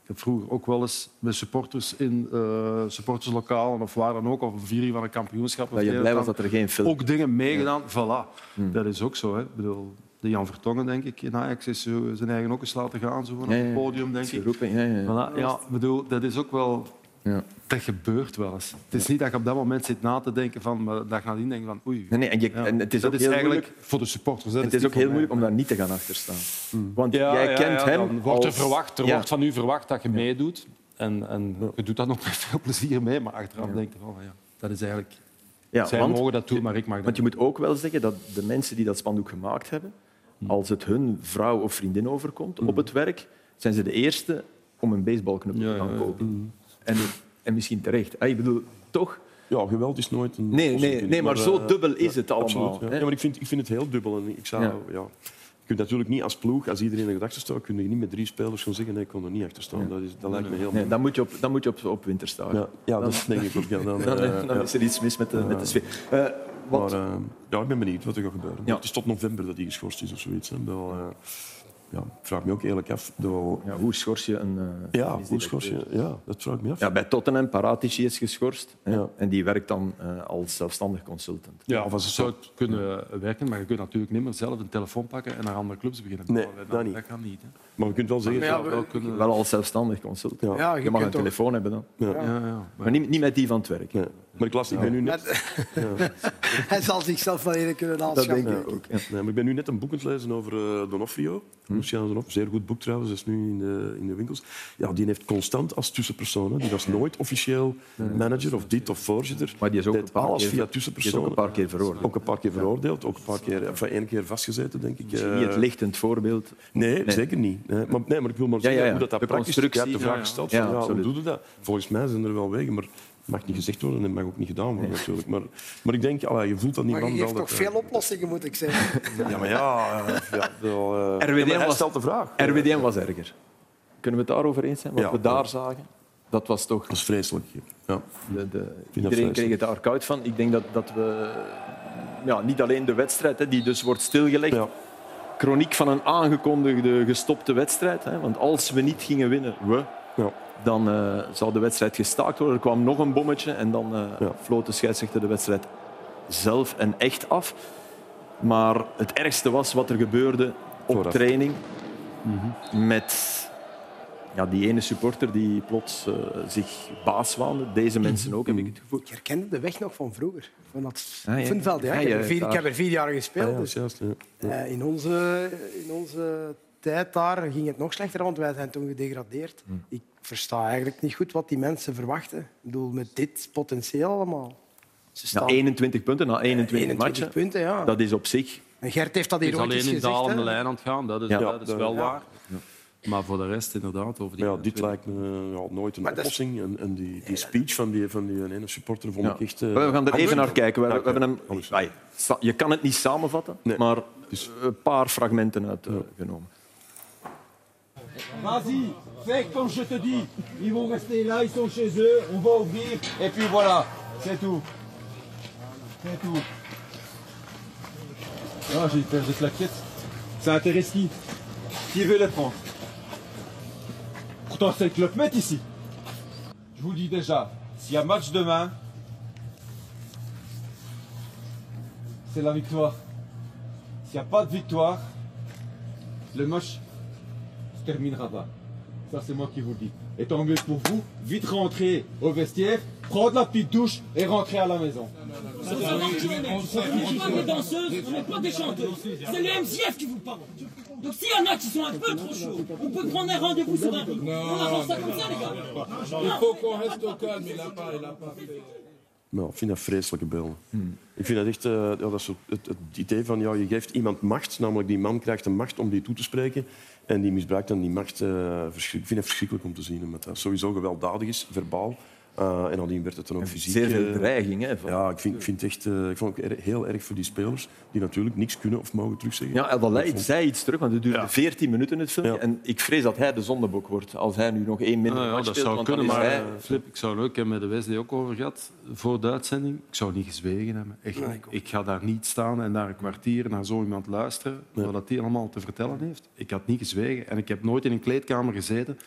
S4: heb vroeger ook wel eens met supporters in eh, supporterslokalen of waar dan ook, of een viering van een kampioenschap. of
S1: Dat je
S4: een
S1: blij was
S4: of
S1: dat er geen film... Hmm.
S4: ook dingen meegedaan. Voilà, dat is ook zo. Hè. Ik bedoel, de Jan Vertongen, denk ik, in Ajax is zo zijn eigen ook eens laten gaan zo, op
S1: Ja, ja,
S4: het podium, denk ik.
S1: Geroepen, ja, ja.
S4: Voilà, ja, ik bedoel, dat is ook wel...
S1: Ja.
S4: Dat gebeurt wel eens. Het is niet dat je op dat moment zit na te denken van... Maar dat je nadien denkt van... Oei,
S1: Nee, nee, en je-
S4: ja.
S1: en het is
S4: dat
S1: ook
S4: is
S1: heel
S4: eigenlijk
S1: moeilijk-
S4: voor de supporters. Dat
S1: Het is
S4: niet
S1: ook heel
S4: voor mij.
S1: moeilijk om daar niet te gaan achterstaan.
S3: Hmm.
S1: Want
S4: Ja,
S1: jij
S4: ja,
S1: kent
S4: ja,
S1: hem
S4: dan wordt er,
S1: als-
S4: verwacht, er
S1: Ja.
S4: wordt van u verwacht dat je meedoet. En, en je doet dat nog met veel plezier mee. Maar achteraf denk je van... Ja, dat is eigenlijk...
S1: Ja,
S4: zij
S1: want-
S4: mogen dat doen, maar ik mag dat
S1: Want je moet ook wel zeggen dat de mensen die dat spandoek gemaakt hebben, als het hun vrouw of vriendin overkomt op het werk, zijn ze de eerste om een baseballknuppel
S4: Ja,
S1: te gaan
S4: ja, ja.
S1: kopen. En, en misschien terecht. Ah, ik bedoel, toch?
S3: Ja, geweld is nooit een...
S1: Nee, nee,
S3: positief,
S1: nee maar zo
S3: eh,
S1: dubbel is het allemaal.
S3: Absoluut, ja.
S1: hè.
S3: Ja, maar ik vind, ik vind het heel dubbel. En ik zou,
S1: Ja.
S3: ja. Je kunt natuurlijk niet als ploeg, als iedereen in de gedachten staat, kun je niet met drie spelers gewoon zeggen, nee, ik kon er niet achter staan. Dat, is, dat lijkt me heel
S1: Nee, dan moet je op, dan moet je op, op winter staan.
S3: Ja, ja dat denk ik ook. Ja, dan,
S1: Dan,
S3: eh,
S1: dan
S3: ja.
S1: is er iets mis met de, met de sfeer. Eh,
S3: Maar,
S1: wat,
S3: eh, ja, ik ben benieuwd wat er gaat gebeuren.
S1: Ja.
S3: Het is tot november dat hij geschorst is of zoiets. Hè. Wel, eh, ja, ik vraag me ook eerlijk af. Wel,
S1: ja, hoe schors je een... eh,
S3: ja, hoe
S1: misdirecteur?
S3: schors je? Ja, dat vraag ik me af.
S1: dus. Ja, bij Tottenham, Paratici is geschorst. hè.
S3: Ja.
S1: En die werkt dan eh, als zelfstandig consultant.
S4: Ja,
S3: Of als
S4: of als
S3: het
S4: zou het kunnen werken, maar je kunt natuurlijk niet meer zelf een telefoon pakken en naar andere clubs beginnen.
S3: Nee,
S4: bellen.
S3: dat niet.
S4: Dat kan niet. Hè.
S3: Maar je kunt wel zeggen...
S2: Ja,
S3: ja,
S4: Wel kunnen-
S1: Wel als zelfstandig consultant.
S3: ja.
S2: Ja,
S1: Je,
S2: je
S1: mag een
S2: kunt toch-
S1: telefoon hebben dan.
S4: Ja, ja.
S1: Maar niet, niet met die van het werk.
S3: nee. Maar ik las, ik ben nu net,
S2: Hij zal zichzelf wel eerder kunnen
S1: Dat denk
S2: aanschaffen.
S1: ik ook. Ja. Hm.
S3: nee, maar eh, ik ben nu net een boek aan het lezen over eh, Donofrio. Luciano Donofrio, zeer goed boek trouwens, dat is nu in de, in de winkels. Ja, die heeft constant als tussenpersoon, hè. die was nooit officieel manager of dit of voorzitter.
S1: Maar die is ook
S3: Deed
S1: een paar
S3: alles
S1: keer-
S3: via
S1: Je is ook
S3: tussenpersonen.
S1: een paar keer veroordeeld.
S3: Ook een paar keer veroordeeld, ook een paar keer, eh, enfin, één keer vastgezeten, denk ik.
S1: Misschien niet
S3: Eh,
S1: het lichtend voorbeeld.
S3: Nee,
S1: Nee.
S3: zeker niet. Nee, maar, nee, maar ik wil maar
S1: Ja,
S3: zeggen
S1: ja, ja.
S3: hoe dat, dat
S1: De
S3: praktisch is. Je hebt de
S1: constructie.
S3: vraag
S4: Ja, ja.
S3: gesteld,
S1: Ja,
S3: van, ja, hoe
S1: absoluut.
S3: doe je dat? Volgens mij zijn er wel wegen, maar het mag niet gezegd worden en mag ook niet gedaan worden natuurlijk. Maar, maar ik denk, allee, je voelt dat die
S2: Maar
S3: man
S2: je
S3: wel...
S2: geeft
S3: dat,
S2: toch veel
S3: eh,
S2: oplossingen, moet ik zeggen.
S3: Ja, maar ja... eh, ja wel, eh,
S1: RWDM
S3: ja, maar hij
S1: was-
S3: stelt de vraag.
S1: RWDM was erger. Kunnen we het daarover eens zijn? Wat
S3: Ja.
S1: we daar zagen, dat was toch...
S3: Dat is vreselijk. Ja.
S1: De, de-
S3: dat
S1: iedereen kreeg
S3: vreselijk.
S1: het daar koud van. Ik denk dat, dat we... Ja, niet alleen de wedstrijd, hè, die dus wordt stilgelegd.
S3: Ja.
S1: Chroniek van een aangekondigde gestopte wedstrijd. Hè, want als we niet gingen winnen, we...
S3: Ja.
S1: Dan eh, zou de wedstrijd gestaakt worden. Er kwam nog een bommetje en dan eh
S3: Ja.
S1: floot de scheidsrechter de wedstrijd zelf en echt af. Maar het ergste was wat er gebeurde op
S3: Vooraf.
S1: training met ja, die ene supporter die plots eh, zich baas waande. Deze
S3: Mhm.
S1: mensen ook, heb ik het gevoel.
S2: Ik herkende de weg nog van vroeger, van dat
S1: Ah, ja.
S2: Funveld. Ja.
S1: Ja,
S2: Ik, heb
S1: ja,
S2: er vier, ik
S1: daar. Ah,
S2: heb er vier jaar gespeeld.
S3: Ja,
S2: dus,
S3: juist, ja.
S2: eh, in, onze, in onze tijd daar ging het nog slechter, want wij zijn toen gedegradeerd.
S1: Hmm.
S2: Ik versta eigenlijk niet goed wat die mensen verwachten. Ik bedoel, met dit potentieel allemaal. Ze
S1: Na
S2: staan
S1: 21 punten, na 21,
S2: 21
S1: matchen.
S2: punten, ja.
S1: Dat is op zich...
S2: En Gert heeft dat
S4: Het
S2: hier
S4: is
S2: ooit eens
S4: alleen in
S2: gezegd.
S4: dalende
S2: hè.
S4: lijn aan het gaan, dat is,
S3: Ja,
S4: dat is
S3: dat-
S4: wel
S3: ja.
S4: waar. Maar voor de rest inderdaad. Over die
S3: Ja, dit
S4: 21.
S3: lijkt me eh, ja, nooit een
S2: Maar dat is-
S3: oplossing. En, en die, die speech van die, van die ene supporter vond ik echt... eh,
S1: Maar We gaan er even
S3: absurd.
S1: naar kijken. We, we
S3: Ja, oké.
S1: hebben hem,
S3: Alles.
S1: Ai, sa- je kan het niet samenvatten,
S3: Nee. Dus-
S1: maar een paar fragmenten eh, uitgenomen.
S11: Vas-y, fais comme je te dis. Ils vont rester là, ils sont chez eux, on va ouvrir, et puis voilà, c'est tout. C'est tout. Ah, j'ai perdu la quête. Ça intéresse qui Qui veut les prendre Pourtant, c'est le club met ici. Je vous le dis déjà, s'il y a match demain, c'est la victoire. S'il n'y a pas de victoire, le match se terminera pas. Ça, c'est moi qui vous le dis. Et tant mieux pour vous, vite rentrer au vestiaire, prendre la petite douche et rentrer à la maison.
S12: Faut savoir qui on est. On n'est pas des danseuses, on n'est pas des chanteuses. C'est le MJF qui vous parle. Donc s'il y en a qui sont un peu trop chauds, on peut prendre un rendez-vous sur un ring. On avance ça comme ça, les gars.
S13: Il faut qu'on reste au calme, il n'a pas, il a pas fait.
S3: Nou, ik vind dat vreselijke bel.
S1: Hmm.
S3: Ik vind dat echt eh, ja, dat is het, het, het idee van ja, je geeft iemand macht, namelijk die man krijgt de macht om die toe te spreken. En die misbruikt dan die macht. eh, verschrik- ik vind het verschrikkelijk om te zien, omdat dat sowieso gewelddadig is, verbaal. eh, en nadien werd het dan ook fysiek.
S1: zeer veel
S3: eh,
S1: dreiging, hè, van-
S3: Ja, ik, vind, ik vind het echt, eh, ik vond het ook er- heel erg voor die spelers die natuurlijk niks kunnen of mogen terugzeggen.
S1: Ja, El
S3: Dat
S1: Walid
S3: vond-
S1: zei iets terug, want het duurde 14 minuten het filmpje. En ik vrees dat hij de zondebok wordt als hij nu nog één minder
S4: Nou ja,
S1: match
S4: dat
S1: speelt,
S4: zou
S1: want
S4: kunnen,
S1: dan
S4: maar
S1: is hij-
S4: eh, Flip, ik zou leuk hebben met de Wesley ook over gehad voor de uitzending. Ik zou niet gezwegen hebben. Echt,
S6: Nee,
S4: niet. ik, ga daar niet staan en daar een kwartier naar zo iemand luisteren, wat dat die allemaal te vertellen heeft. Ik had niet gezwegen en ik heb nooit in een kleedkamer gezeten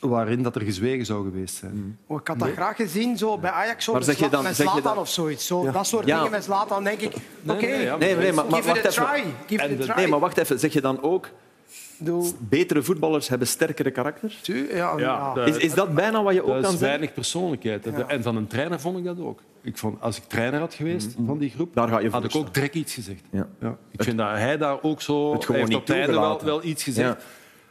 S4: waarin dat er gezwegen zou geweest zijn.
S2: Oh, ik had dat graag gezien zo bij Ajax zo
S4: Maar
S2: met
S4: zeg je
S2: Zla-
S4: dan-
S2: met
S4: zeg je
S2: Zlatan
S4: dan-
S2: of zoiets. Zo, Dat soort
S1: Ja.
S2: dingen met Zlatan, denk ik. Oké,
S1: nee, nee, maar, maar
S2: give
S1: wacht
S2: it
S1: even.
S2: a try. Give
S1: En
S2: it
S1: de-
S2: a try.
S1: nee, maar wacht even. Zeg je dan ook... Betere voetballers hebben sterkere karakters?
S2: ja,
S4: Ja, ja.
S1: Is, is dat bijna wat je ook
S4: Eh, dat
S1: kan
S4: is
S1: zeggen?
S4: weinig persoonlijkheid.
S1: Ja.
S4: En van een trainer vond ik dat ook. Ik vond, als ik trainer had geweest
S1: Mhm.
S4: van die groep, had ik ook direct iets gezegd.
S1: Ja.
S4: Ik vind dat hij daar ook zo...
S1: Het gewoon
S4: hij heeft
S1: niet
S4: op het einde
S1: toegelaten.
S4: Wel, wel iets gezegd.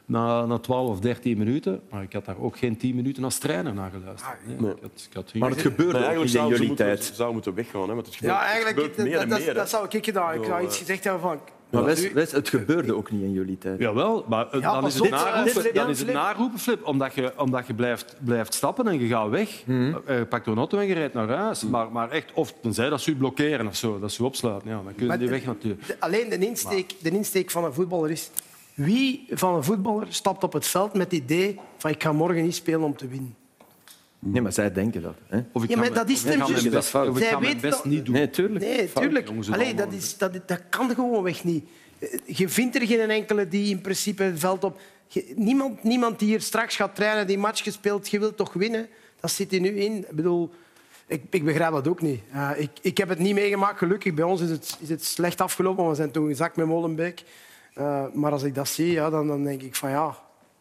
S4: Na, na 12 of 13 minuten. Maar ik had daar ook geen 10 minuten als trainer naar geluisterd.
S1: Ah,
S4: Nee, ik had, ik had geen-
S3: Nee, eigenlijk zouden ze moeten, tijd. zou moeten weggaan, hè, want het gebeurt,
S2: Ja,
S3: het
S2: eigenlijk,
S3: gebeurt meer
S2: dat,
S3: en
S2: dat,
S3: meer. hè.
S2: dat zou ik gedaan. Ik
S3: Zo,
S2: zou
S3: eh,
S2: iets gezegd hebben van...
S1: Maar
S2: Ja,
S1: Wes-
S2: nu-
S1: Wes, het gebeurde ook niet in jullie tijd.
S4: Jawel, maar eh,
S1: Ja,
S4: dan,
S1: pas
S4: is het
S1: op,
S4: naroepen,
S1: dit- dit-
S4: dan is het
S1: dit-
S4: naroepen, Flip. Omdat je, omdat je blijft, blijft stappen en je gaat weg.
S1: Mhm.
S4: Eh, Je pakt een auto en je rijdt naar huis. Maar, maar echt, of tenzij dat ze je blokkeren of zo, dat ze je opsluiten. Ja, dan kun je
S2: Maar
S4: niet
S2: de-
S4: weg natuurlijk.
S2: de- alleen de insteek, de insteek van een voetballer is... Wie van een voetballer stapt op het veld met het idee van ik ga morgen niet spelen om te winnen?
S1: Nee, maar zij denken dat. Hè?
S4: Of
S2: Ja, maar dat is hem dus.
S1: Dat is fout.
S2: Zij weet dat-
S1: Nee, tuurlijk.
S2: Nee,
S1: Fout.
S2: tuurlijk.
S1: Jongens, het
S2: Allee,
S1: allemaal.
S2: dat, is, dat, dat kan gewoonweg niet. Eh, Je vindt er geen enkele die in principe het veld op... Je- niemand, niemand die hier straks gaat trainen, die match gespeeld, je wilt toch winnen? Dat zit er nu in. Ik bedoel, ik, ik begrijp dat ook niet. Eh, ik, ik heb het niet meegemaakt, gelukkig. Bij ons is het, is het slecht afgelopen, want we zijn toen gezakt met Molenbeek. Eh, maar als ik dat zie, ja, dan, dan denk ik van ja...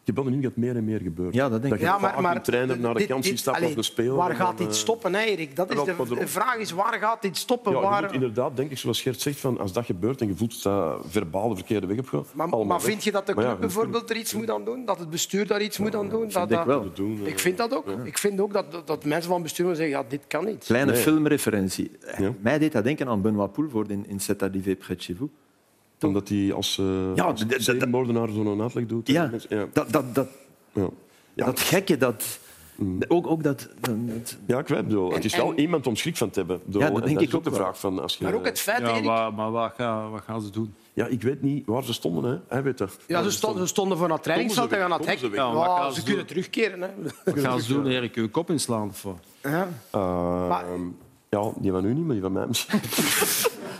S3: Je bent nu dat het meer en meer gebeurt.
S1: Ja, dat
S3: denk je vaak een trainer naar de
S2: dit-
S3: kant ziet
S2: dit-
S3: stappen
S2: allee,
S3: of de speler.
S2: Waar
S3: en
S2: gaat
S3: dan,
S2: dit
S3: eh,
S2: stoppen, hè, Erik? Dat is
S3: dat-
S2: de,
S3: maar
S2: de
S3: erop.
S2: vraag is, waar gaat dit stoppen?
S3: Ja, je
S2: waar...
S3: moet inderdaad, denk ik, zoals Gert zegt, van als dat gebeurt en je voelt dat verbaal de verkeerde weg op gaat.
S2: Maar,
S3: allemaal
S2: maar
S3: weg.
S2: vind je dat de
S3: Maar
S2: club
S3: ja, je moet
S2: bijvoorbeeld er iets moet aan doen? Dat het bestuur daar iets moet aan doen? Dat,
S3: ik wel.
S2: dat-
S3: Doen, eh,
S2: ik vind dat ook. Ik vind ook dat, dat- dat mensen van het bestuur moeten zeggen, ja, dit kan niet.
S1: Kleine filmreferentie. Mij deed dat denken aan Benoît Poelvoorde in, in C'est arrivé près de chez vous.
S3: Omdat hij als, eh
S1: Ja,
S3: als
S1: d- d- d-
S3: zedenmoordenaar zo'n uitleg doet. eh,
S1: Ja, dat, dat, dat, dat gekke, dat, ook, ook dat... dat-
S3: Ja, ik weet het. bedoel, Het is
S1: En-
S3: wel
S1: en-
S3: iemand om schrik van te hebben. bedoel,
S1: Ja, dat
S3: en
S1: denk
S3: is
S1: ik ook
S3: de
S1: wel.
S3: vraag van... Als je,
S2: Maar ook het feit,
S4: Ja,
S2: Erik-
S4: waar- maar wat gaan, wat gaan ze doen?
S3: Ja, ik weet niet waar ze stonden. Hè. Hij weet dat.
S2: Ja, ze stonden, ze stonden voor dat trainingsveld en gaan naar het hek.
S4: Komen ze
S2: Ja,
S4: weg. Ja, maar
S2: ze
S4: gaan ze
S2: kunnen
S4: doen?
S2: terugkeren. Hè.
S4: Wat gaan ze doen, Erik? Je kop inslaan of wat?
S2: Ja.
S3: Eh, ja, die van u niet, maar die van mij misschien.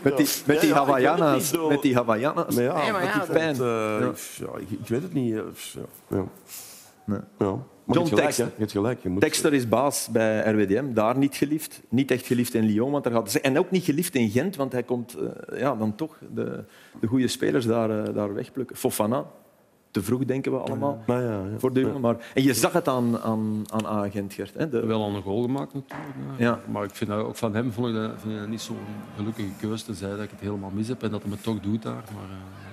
S1: Met die, met die
S3: Ja, ja, ik weet het
S1: Havaianas.
S3: niet, zo.
S1: Met die Havaianas.
S3: Maar ja, met die pijn.
S1: pijn.
S3: eh, ja, ik, ik weet het niet. eh, Ja. Ja. Ja. Maar je
S1: John
S3: hebt gelijk,
S1: Texter.
S3: hè. Je hebt gelijk. Je moet-
S1: Texter is baas bij RWDM, daar niet geliefd. Niet echt geliefd in Lyon, want daar gaat... en ook niet geliefd in Gent, want hij komt eh, ja, dan toch de, de goede spelers daar, eh, daar wegplukken. Fofana, te vroeg, denken we allemaal.
S3: Maar Nou ja, ja.
S1: Voor de jongen. Maar, en je zag het aan, aan, aan agent Gert. Hè? De...
S4: Wel al een goal gemaakt natuurlijk. hè.
S1: Ja.
S4: Maar ik vind dat ook van hem vond ik dat, vind ik dat niet zo'n gelukkige keuze. Tenzij dat ik het helemaal mis heb en dat hij me toch doet daar. Maar, eh.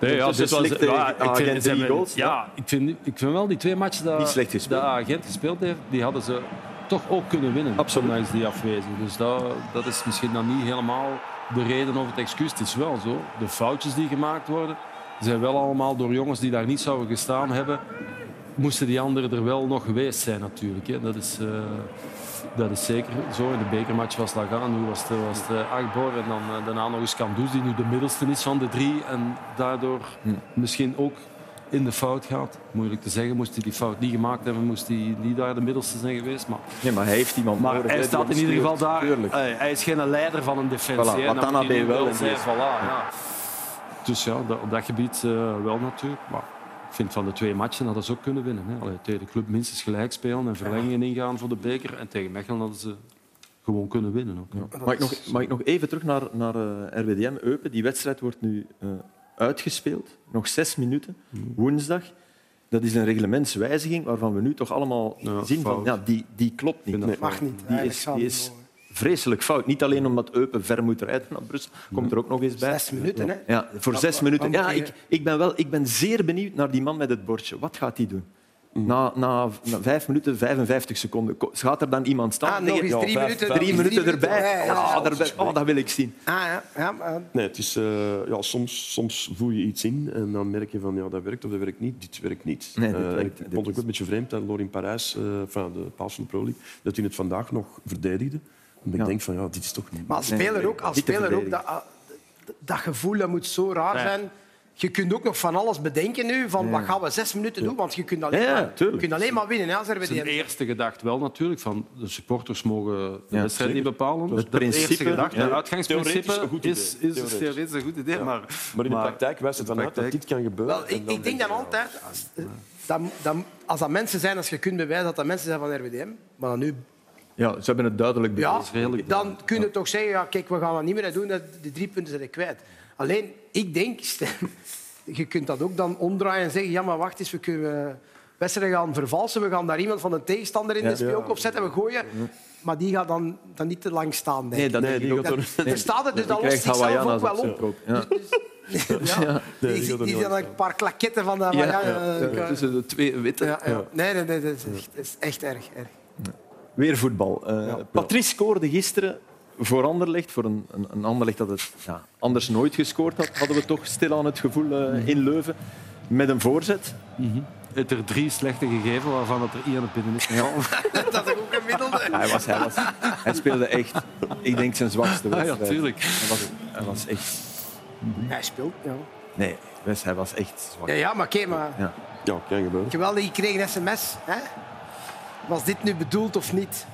S1: Dus
S4: ja,
S1: ze
S4: dit was-
S1: slikte
S4: ja, ik
S1: Agent
S4: vind-
S1: drie
S4: ze hebben-
S1: goals, hè?
S4: Ja, ik vind, ik vind wel die twee matchen dat,
S1: Niet slecht gespeeld.
S4: dat agent gespeeld heeft, die hadden ze toch ook kunnen winnen. Absoluut. Ondanks die afwezig. Dus dat, dat is misschien dan niet helemaal de reden of het excuus. Het is wel zo. De foutjes die gemaakt worden, zijn wel allemaal door jongens die daar niet zouden gestaan hebben. Moesten die anderen er wel nog geweest zijn natuurlijk. Hè. Dat, is, eh, dat is zeker zo. In de bekermatch was Lagan, nu was het, was het eh, Akbor. En dan eh, daarna nog eens Kandus, die nu de middelste is van de drie. En daardoor
S1: Hm.
S4: misschien ook in de fout gaat. Moeilijk te zeggen, moest hij die fout niet gemaakt hebben, moest hij niet daar de middelste zijn geweest. Maar
S1: Nee, maar hij heeft iemand
S4: maar
S1: nodig, hè,
S4: hij
S1: die
S4: staat
S1: hem
S4: in ieder geval
S1: stuurt.
S4: daar.
S1: Tuurlijk.
S4: Hey, hij is geen leider van een defensie.
S1: Voilà,
S4: hè. Dan moet
S1: Watanabe
S4: hij nu
S1: wel,
S4: zijn,
S1: inderdaad.
S4: voilà, ja. Dus ja, dat- op dat gebied eh, wel natuurlijk. Maar ik vind van de twee matchen hadden ze ook kunnen winnen. Hè. Allee, tegen de club minstens gelijk spelen en verlengingen ingaan voor de beker. En tegen Mechelen hadden ze gewoon kunnen winnen. Ook, hè.
S1: Mag ik, nog, mag ik nog even terug naar, naar eh, RWDM Eupen? Die wedstrijd wordt nu eh, uitgespeeld. Nog zes minuten. Woensdag. Dat is een reglementswijziging waarvan we nu toch allemaal zien van
S4: fout.
S1: ja, die, die klopt niet.
S4: dat Mag fout. niet.
S1: Die
S4: Eigenlijk
S1: is,
S4: zou
S1: die
S4: het
S1: is vreselijk fout. Niet alleen omdat Eupen ver moet rijden naar Brussel, komt er ook nog eens bij. Zes
S2: minuten, hè?
S1: Ja, voor
S2: Wat-
S1: zes
S2: wat-
S1: minuten.
S2: wat
S1: Ja,
S2: moet je-
S1: ik, ik, ben wel, ik ben zeer benieuwd naar die man met het bordje. Wat gaat hij doen? Na, na, na vijf minuten, 55 seconden. Ko- Gaat er dan iemand staan?
S2: Ah, nog eens drie
S1: vijf-
S2: minuten,
S1: drie
S2: nog eens
S1: minuten
S2: drie
S1: erbij.
S2: minuten. Ja, ja,
S1: Ah,
S2: ja.
S1: daarbij- oh, dat wil ik zien.
S2: Ah, ja. ja, maar-
S3: Nee, het is, eh, ja, soms, soms voel je iets in en dan merk je van ja, dat werkt of dat werkt niet. Dit werkt niet.
S1: Nee, dit
S3: Eh, en
S1: werkt-
S3: ik vond het ook een beetje vreemd dat Lorin Parijs, eh, van de paas van de Pro League, dat hij het vandaag nog verdedigde. Omdat ik denk van ja, dit is toch niet.
S2: Maar als speler ook, als speler ook dat, dat- dat gevoel dat moet zo raar
S3: Ja.
S2: zijn. Je kunt ook nog van alles bedenken nu, van wat gaan we zes minuten doen? Want je kunt alleen,
S4: Ja, ja,
S2: maar, je
S4: tuurlijk.
S2: kunt alleen maar winnen. Hè, als er
S4: Zijn
S2: weer
S4: eerste gedachte wel natuurlijk, van de supporters mogen de
S1: Ja,
S4: wedstrijd
S1: zeker.
S4: niet bepalen.
S1: Het
S4: Dus dat
S1: principe,
S4: eerste gedachte,
S1: ja.
S4: het
S3: Theoretisch een
S4: uitgangsprincipe
S3: goed idee.
S4: is, is
S3: Theoretisch.
S4: theoretisch een goed idee.
S3: Ja.
S4: Maar,
S3: Maar in de praktijk wijst het
S4: in
S3: dan
S4: de
S3: uit ah, dat
S4: praktijk-
S3: dit kan gebeuren.
S2: Wel, ik, ik denk dan altijd, als, eh, dat, dat, als dat mensen zijn, als je kunt bewijzen dat dat mensen zijn van RWDM, maar nu,
S1: Ja, ze hebben het duidelijk
S2: ja,
S1: bewezen.
S2: dan kun je toch zeggen, ja, kijk, we gaan dat niet meer doen, dat- die drie punten zijn er kwijt. Alleen, ik denk, Stijn, je kunt dat ook dan omdraaien en zeggen, ja, maar wacht eens, we kunnen eh, wedstrijden gaan vervalsen, we gaan daar iemand van een tegenstander in dus
S1: Ja.
S2: de speelkop
S1: Ja.
S2: zetten, we gooien, maar die gaat dan, dan niet te lang staan, denk ik.
S1: Nee, dat
S3: Nee, die
S1: denk ik
S3: gaat
S1: ook.
S3: er-
S1: Nee.
S2: Verstaat het? Dus
S1: Die
S2: dat
S1: krijgt
S2: lost zichzelf
S1: Hawaiianas
S2: ook wel
S1: op
S2: op.
S1: zijn kop. Ja.
S2: Ja.
S1: Nee,
S2: die
S1: die gaat
S2: die,
S1: er
S2: die
S1: nooit
S2: zijn dan een paar klakketten van de...
S1: Ja,
S2: ja,
S1: ja,
S2: eh,
S1: tussen de twee witte.
S2: ja, ja. Nee, nee, nee, dat is echt, dat is echt erg, erg.
S1: Weer voetbal. Eh, Patrice scoorde gisteren voor Anderlecht, voor een, een, een Anderlecht dat het ja, anders nooit gescoord had, hadden we toch stilaan het gevoel eh, in Leuven. Met een voorzet.
S4: Het er drie slechte gegeven, waarvan het er één binnen is gevallen.
S2: Dat is ook gemiddelde.
S1: Hij, was, hij, was, hij speelde echt, ik denk, zijn zwakste
S4: Ah, ja,
S1: wedstrijd.
S4: tuurlijk.
S1: Hij was, hij was echt...
S2: Hij speelt, ja.
S1: Nee, Wes, hij was echt zwak.
S2: Ja, ja maar oké, maar...
S1: Ja.
S3: Ja, kan gebeuren.
S2: Geweldig, ik kreeg een sms. Hè? Was dit nu bedoeld of niet?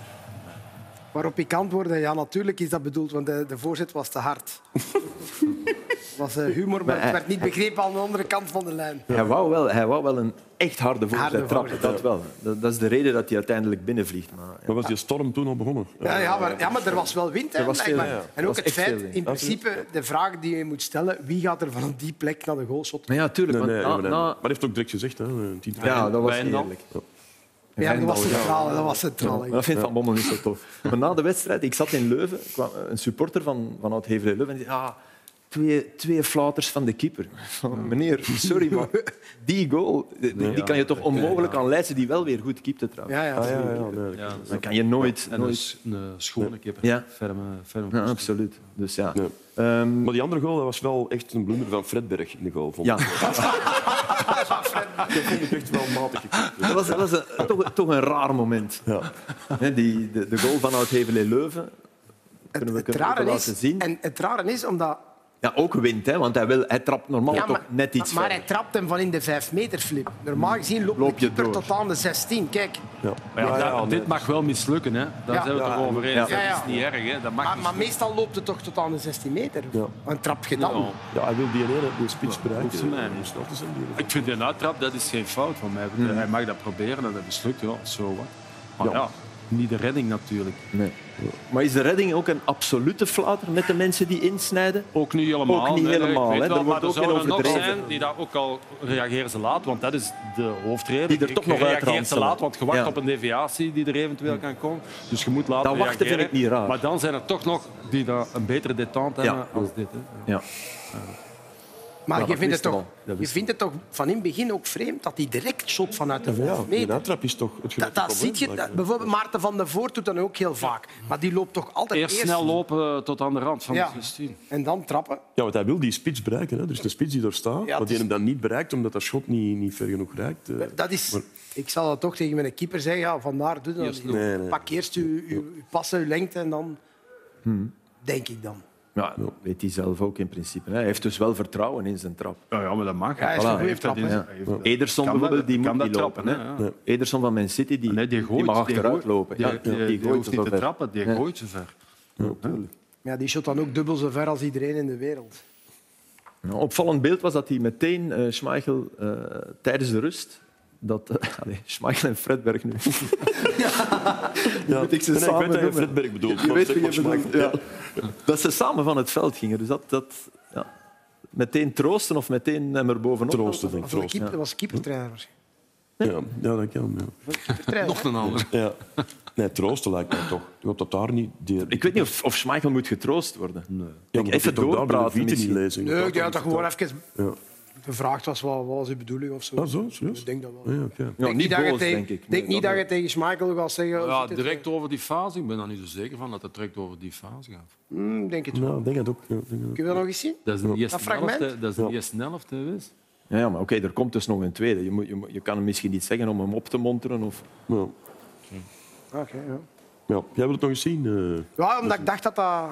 S2: Waarop ik antwoordde, ja, natuurlijk is dat bedoeld, want de, de voorzet was te hard. Het was eh, humor, maar het werd niet begrepen aan de andere kant van de lijn.
S1: Hij, wou wel, hij wou wel een echt harde voorzet
S2: Harde
S1: trappen,
S2: voorzet.
S1: dat wel. Dat, dat is de reden dat hij uiteindelijk binnenvliegt. Maar,
S3: Maar was die storm toen al begonnen?
S2: Ja, ja, maar, ja, maar er was wel wind. Hè,
S1: Er was veel,
S2: blijkbaar.
S1: ja.
S2: En
S1: Er was
S2: ook het
S1: echt
S2: feit,
S1: veel wind.
S2: in principe, de vraag die je moet stellen, wie gaat er van die plek naar de goalshot?
S1: Maar ja, tuurlijk. want
S3: Nee, nee,
S1: na-
S3: ja, maar hij-
S1: na-
S3: maar hij heeft ook direct gezegd. Hè, een tien-
S1: ja, dat was
S4: Wijndal.
S1: eerlijk.
S2: Ja, dat was
S1: Wijndal,
S2: centraal. Dat was centraal.
S1: Maar Dat vindt Van Bommel niet zo tof. Maar na de wedstrijd, ik zat in Leuven, kwam een supporter van, van Oud-Heverlee Leuven en die zei, ah, twee, twee flaters van de keeper. Van, Meneer, sorry, maar die goal, die, die
S4: Ja.
S1: kan je toch onmogelijk aan Leidsen, die wel weer goed keepte trouwens.
S2: Ja, ja.
S3: Ah, ja, ja, nee, dat
S4: Ja,
S3: kan.
S1: Dan kan je nooit...
S4: En
S1: nooit...
S4: dus een schone kipper.
S1: Ja.
S4: Ferme, ferme
S1: Ja,
S4: kost.
S1: absoluut. Dus ja.
S3: Nee.
S1: Ehm,
S3: Maar die andere goal dat was wel echt een blunder van Fredberg in de goal. Vond
S1: ja.
S3: ik. Dat vond ik echt wel matig. gekeept.
S1: Dat was, dat was een- toch, toch een raar moment.
S3: Ja.
S1: Hè, die, de, de goal van Oud-Heverlee Leuven kunnen we,
S2: Het, het,
S1: kunnen we
S2: rare
S1: laten
S2: is,
S1: zien.
S2: en het rare is, omdat...
S1: Ja, ook wint, hè, want hij, wil, hij trapt normaal
S2: Ja,
S1: toch net iets
S2: maar
S1: verder.
S2: hij trapt hem van in de 5 meter flip. Normaal gezien loopt
S1: Loop je
S2: de keeper
S1: door.
S2: tot aan de 16. Kijk,
S3: Ja.
S4: Maar ja,
S3: Ja, ja,
S4: dat-
S3: nee.
S4: Dit mag wel mislukken, hè. daar
S2: Ja.
S4: zijn we
S3: Ja,
S4: toch over
S1: ja.
S4: eens.
S2: Ja, ja.
S4: Dat is niet erg, hè. dat mag
S2: maar,
S4: niet.
S2: maar meestal loopt het toch tot aan de 16 meter.
S3: Ja.
S2: Een trap gedaan.
S4: Nou,
S3: Ja, hij wil die ene die spits bereiken.
S4: hoeft ze mij niet.
S3: Om snel te zijn, die ene.
S4: Ik vind een uittrap, dat is geen fout van mij. Hij mag dat proberen en dat mislukt, ja, zo wat. Maar
S3: Ja.
S4: ja, niet de redding natuurlijk.
S1: Nee. Maar is de redding ook een absolute flater met de mensen die insnijden?
S4: Ook niet helemaal.
S1: Ook niet
S4: hè. Ik
S1: helemaal.
S4: weet
S1: hè.
S4: wel,
S1: Daar
S4: maar
S1: wordt
S4: er
S1: ook in
S4: zullen er nog
S1: overdreven.
S4: zijn die daar ook al reageren ze laat, want dat is de hoofdreden.
S1: Die er
S4: Je
S1: toch nog
S4: reageert ze
S1: uitranselen.
S4: laat, want je wacht
S1: Ja.
S4: op een deviatie die er eventueel kan komen. Dus je moet laten
S1: Dat wachten
S4: reageren.
S1: vind ik niet raar.
S4: Maar dan zijn er toch nog die daar een betere detente
S1: Ja.
S4: hebben als dit. Hè.
S1: Ja.
S2: Maar
S4: Ja,
S2: je,
S4: dat
S2: vindt
S4: wist
S2: het toch,
S4: hem al. Dat
S2: je
S4: wist
S2: vindt het toch van in het begin ook vreemd dat die direct shot vanuit de
S3: Ja,
S2: 5
S3: die
S2: meter...
S3: uittrap is toch het grote
S2: Dat, dat
S3: probleem.
S2: ziet je,
S3: lijkt
S2: dat-
S3: me.
S2: bijvoorbeeld Maarten van der Voort doet dat ook heel vaak. Maar die loopt toch altijd
S4: Eerst
S2: eerst...
S4: snel lopen eh, tot aan de rand van
S2: Ja.
S4: de 16.
S2: En dan trappen.
S3: Ja, want hij wil die spits bereiken. Hè. Er is een spits die daar staat, maar
S2: het
S3: die
S2: is-
S3: hem dan niet bereikt omdat dat schot niet, niet ver genoeg reikt. eh.
S2: Dat is,
S3: Maar-
S2: ik zal dat toch tegen mijn keeper zeggen. Ja, vandaar, doe dat.
S3: Eerst lopen. Nee, nee.
S2: Pak eerst uw, uw, uw passen, uw lengte en dan... Denk ik dan.
S1: Ja, dat weet hij zelf ook in principe. hè. Hij heeft dus wel vertrouwen in zijn trap.
S4: Ja, ja, maar dat mag.
S2: Ja, hij is een goede trap, hè.
S1: Ja. Ederson
S4: Kan dat-
S1: bijvoorbeeld, die
S4: kan
S1: moet
S4: dat
S1: niet lopen.
S4: trappen,
S1: hè.
S4: hè, ja.
S1: Ederson van Man City, die,
S4: Nee, die
S1: die
S4: gooit.
S1: mag
S4: die
S1: achteruit
S4: gooit-
S1: lopen.
S4: Die,
S1: Ja,
S4: die-
S1: die
S4: die
S1: gooit
S4: hoeft
S1: zo
S4: niet te
S1: ver.
S4: trappen, die
S1: Ja.
S4: gooit ze ver.
S2: Maar ja, die shot dan ook dubbel zo ver als iedereen in de wereld.
S1: Een opvallend beeld was dat hij meteen eh Schmeichel eh, tijdens de rust. Dat, eh, allee, Schmeichel en Fredberg nu.
S3: Ja.
S1: Moet ik ze
S3: Nee, nee, ik
S1: samen
S3: weet dat je
S1: noemen?
S3: Fredberg bedoelt.
S1: Je
S3: maar
S1: weet
S3: zeg
S1: wie je
S3: maar
S1: bedoelt.
S3: Schmeichel.
S1: Ja. Dat ze samen van het veld gingen. Dus dat, dat ja. meteen troosten of meteen hem er bovenop.
S3: Troosten, denk ik,
S2: Of een
S3: troosten.
S2: keeper, dat was een keepertrainer misschien.
S3: Ja, ja, dat kan. Ja.
S2: Keepertrainer.
S4: een ander.
S3: Ja. Nee, troosten lijkt mij toch. Ik hoop dat daar niet... Die...
S1: Ik weet niet of, of Schmeichel moet getroost worden.
S3: Ja,
S1: Ik,
S3: maar dat je
S1: even
S3: toch daar bij de
S1: doorpraten.
S3: Vite niet
S1: misschien.
S3: lezen.
S2: Nee, ik denk dat dat gewoon even
S3: Ja.
S2: gevraagd was wat, wat was uw bedoeling of zo.
S3: Ah, zo? Serieus?
S2: Ik denk dat wel.
S3: Ja, oké.
S1: Ja, niet
S2: dat je
S1: boos,
S2: tegen-
S1: denk ik.
S2: denk
S1: Nee,
S2: niet
S1: dat-
S2: dat je tegen Schmeichel gaat zeggen...
S4: Ja,
S2: "Zit het-
S4: direct over die fase. Ik ben daar niet zo zeker van dat het direct over die fase gaat.
S2: Hmm, denk het wel.
S3: Nou, ik denk dat ook. Ja, ik denk dat ook.
S2: Kun je dat nog eens zien?
S4: Dat is een eerste
S2: Dat fragment?
S4: helft, hè. Dat is een eerste helft, hè, Wes.
S1: Ja, ja, maar oké, er komt dus nog een tweede. Je, moet, je, moet- je kan hem misschien niet zeggen om hem op te monteren. Of...
S3: Ja.
S2: Oké, ja.
S3: Ja. Jij wilt het nog eens zien? eh?
S2: Ja, omdat ik dacht dat dat,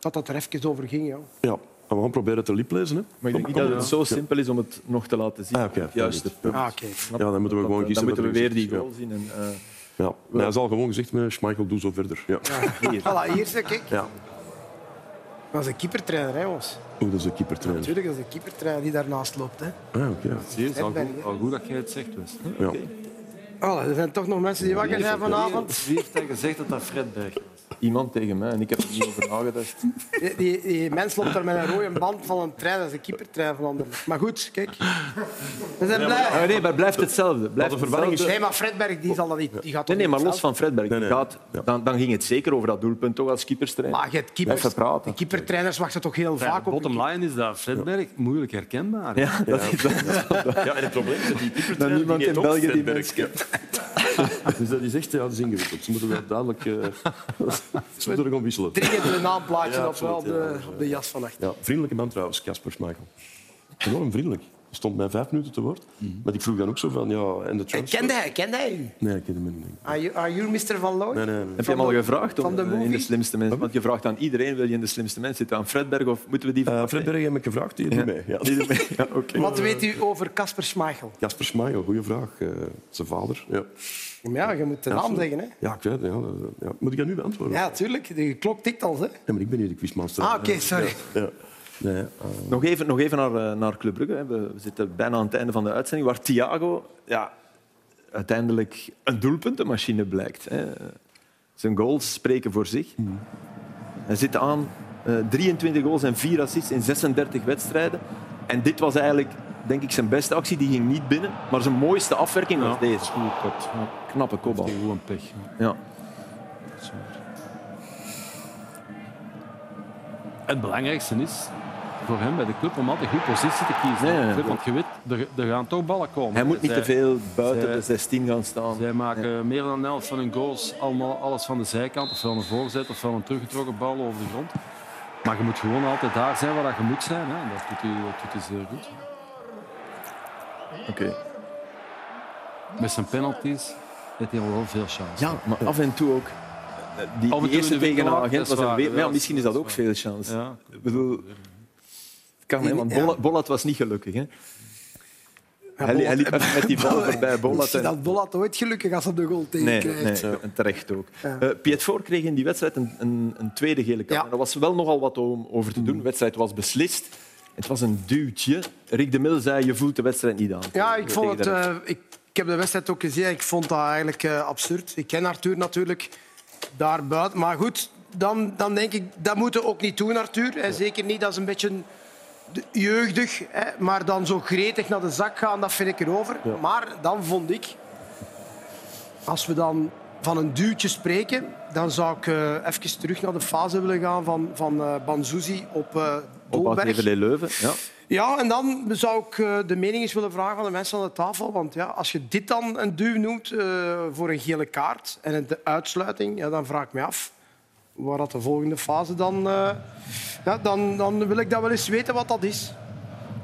S2: dat, dat er even over ging. Ja.
S3: Ja. En we gaan proberen het te liep lezen. Hè.
S1: Maar ik denk niet
S3: Kom,
S1: dat
S3: kom,
S1: het
S3: ja.
S1: zo simpel is om het nog te laten zien.
S3: Ah, oké.
S1: Juist.
S3: Ja,
S2: Ah, oké.
S3: Ja, dan moeten we gewoon
S1: eh, Dan
S3: kiezen.
S1: moeten we
S3: wat er
S1: weer
S3: gezegd
S1: die
S3: is.
S1: goal zien. En, eh,
S3: Ja. Ja. Nee, hij zal gewoon gezegd hebben, Schmeichel, doe zo verder. Ja.
S2: Voilà, hier zeg ik.
S3: Ja.
S2: Dat is een keepertrainer, hè, jongens.
S3: Oeh, dat is een keepertrainer.
S2: Natuurlijk, dat is een keepertrainer die daarnaast loopt. Hè.
S3: Ah, oké. ja.
S4: Zie je, het is al goed, al goed dat jij het zegt, Wes.
S3: Ja.
S2: Voilà, er zijn toch nog mensen die wakker zijn vanavond.
S4: Wie heeft dat gezegd dat dat Fredberg
S1: Iemand tegen mij en ik heb er niet over nagedacht.
S2: Die, die, die mens loopt daar met een rode band van een trein. Dat is een keepertrainer van Anderlecht. Maar goed, kijk. We zijn blij.
S1: Ah, nee, maar blijft hetzelfde. Blijft
S3: de verwarring is-
S1: hetzelfde.
S2: Nee, maar Fredberg die zal dat niet. Die gaat
S1: Nee,
S2: toch
S1: nee, maar
S2: niet
S1: los van Fredberg.
S3: Nee, nee.
S1: Gaat, dan, dan ging het zeker over dat doelpunt, toch als keeperstrainer.
S2: Maar je hebt keepers-
S1: Blijven
S2: Die
S1: praten.
S2: keepertrainers wachten toch heel
S4: Ja,
S2: vaak
S4: de
S2: op.
S4: bottom line is dat Fredberg moeilijk herkenbaar is.
S1: Ja, dat is
S3: ja, en het probleem is dat
S1: dan
S3: die keepertrainer...
S1: niemand
S3: die
S1: in
S3: heet ook
S1: België die
S3: Stenberg.
S1: mensen kent.
S3: Dus dat is echt ja, dat is ingewikkeld. Ze moeten dat duidelijk... eh, ze moeten er gewoon wisselen.
S2: Dringend een naamplaatje
S3: Ja,
S2: op, wel op,
S3: absoluut,
S2: de,
S3: ja.
S2: op de jas van achter.
S3: Ja, vriendelijke man trouwens, Casper Schmeichel. Enorm vriendelijk. Hij stond mij vijf minuten te woord. Maar ik vroeg dan ook zo van... Ja, en de
S2: Eh,
S3: transfer?
S2: Kende hij, kende hij u?
S3: Nee, ik ken hem niet. denk ik.
S2: Are you, are you Mr. Van Looy?
S3: Nee, nee, nee.
S1: Heb je hem al gevraagd om
S2: van de
S1: eh, in
S2: movie?
S1: de slimste mensen? Want je vraagt aan iedereen, wil je in de slimste mensen zitten? Aan Fredberg of moeten we die...
S3: Eh, Fred Bergen heb ik gevraagd, die doet mee. Ja.
S1: Die ermee- ja, oké.
S2: Wat weet u over Casper Schmeichel?
S3: Jasper Schmeijer, goede vraag. Eh, zijn vader. Ja,
S2: Ja, je moet de naam
S3: Absoluut.
S2: zeggen. Hè?
S3: ja ik weet het. Ja, dat- ja. Moet ik dat nu beantwoorden?
S2: Ja, tuurlijk. De klok tikt al. Hè?
S3: Nee, maar ik ben hier de quizmaster.
S2: Ah, oké, sorry.
S3: Ja. Nee, eh,
S1: Nog even, nog even naar, eh, naar Club Brugge. hè. We we zitten bijna aan het einde van de uitzending, waar Thiago ja, uiteindelijk een doelpuntenmachine blijkt. Hè. Zijn goals spreken voor zich. Hij zit aan eh, 23 goals en 4 assists in 36 wedstrijden. En dit was eigenlijk, denk ik, zijn beste actie. Die ging niet binnen, maar zijn mooiste afwerking was deze. Knappe kopbal.
S4: Gewoon pech.
S1: Ja.
S4: Het belangrijkste is voor hem bij de club om altijd goed positie te kiezen.
S1: Nee, nee, nee.
S4: Want je weet, er, er gaan toch ballen komen.
S1: Hij moet niet
S4: Zij-
S1: te veel buiten
S4: zij-
S1: de 16 gaan staan.
S4: Zij maken meer dan de helft van hun goals allemaal alles van de zijkant. Ofwel een voorzet ofwel een teruggetrokken bal over de grond. Maar je moet gewoon altijd daar zijn waar dat je moet zijn. Hè. En Dat doet hij, dat doet hij zeer goed.
S1: Oké.
S4: Met zijn penalties heeft hij wel veel chance.
S1: Ja, maar af en toe ook. Eh, Die,
S4: toe
S1: die eerste
S4: de winkel
S1: tegen een
S4: ook,
S1: agent
S4: dat is
S1: was een
S4: waar,
S1: weet- maar
S4: ja,
S1: ja, misschien is dat ook veel chance.
S4: Ja.
S1: Ik bedoel, het kan, hè, want Bollat, Bollat was niet gelukkig. Hè. Hij, li- hij liep even met die bal voorbij Bollat.
S2: Is
S1: en-
S2: dat Bollat ooit gelukkig als hij de goal tegen
S1: Nee,
S2: krijgt?
S1: nee, en terecht ook.
S2: Ja.
S1: Eh Pietvoor kreeg in die wedstrijd een, een, een tweede gele kaart.
S2: Ja.
S1: Er was wel nogal wat om over te doen. De wedstrijd was beslist. Het was een duwtje. Rick de Mil zei, je voelt de wedstrijd niet aan.
S2: Ja, ik vond
S1: Tegen
S2: het...
S1: de rest.
S2: eh, ik, Ik heb de wedstrijd ook gezien en ik vond dat eigenlijk eh, absurd. Ik ken Arthur natuurlijk daar buiten. Maar goed, dan, dan denk ik, dat moeten we ook niet doen, Arthur. En zeker niet, dat is een beetje de- jeugdig. Hè. Maar dan zo gretig naar de zak gaan, dat vind ik erover.
S3: Ja.
S2: Maar dan vond ik, als we dan van een duwtje spreken, dan zou ik eh, even terug naar de fase willen gaan van, van eh Banzuzi op eh
S1: Op
S2: Dolberg.
S1: Leuven. Ja.
S2: Ja, en dan zou ik eh, de mening eens willen vragen van de mensen aan de tafel. Want ja, als je dit dan een duw noemt eh, voor een gele kaart en het- de uitsluiting, ja, dan vraag ik me af waar dat de volgende fase dan, eh, ja, dan... Dan wil ik dat wel eens weten wat dat is.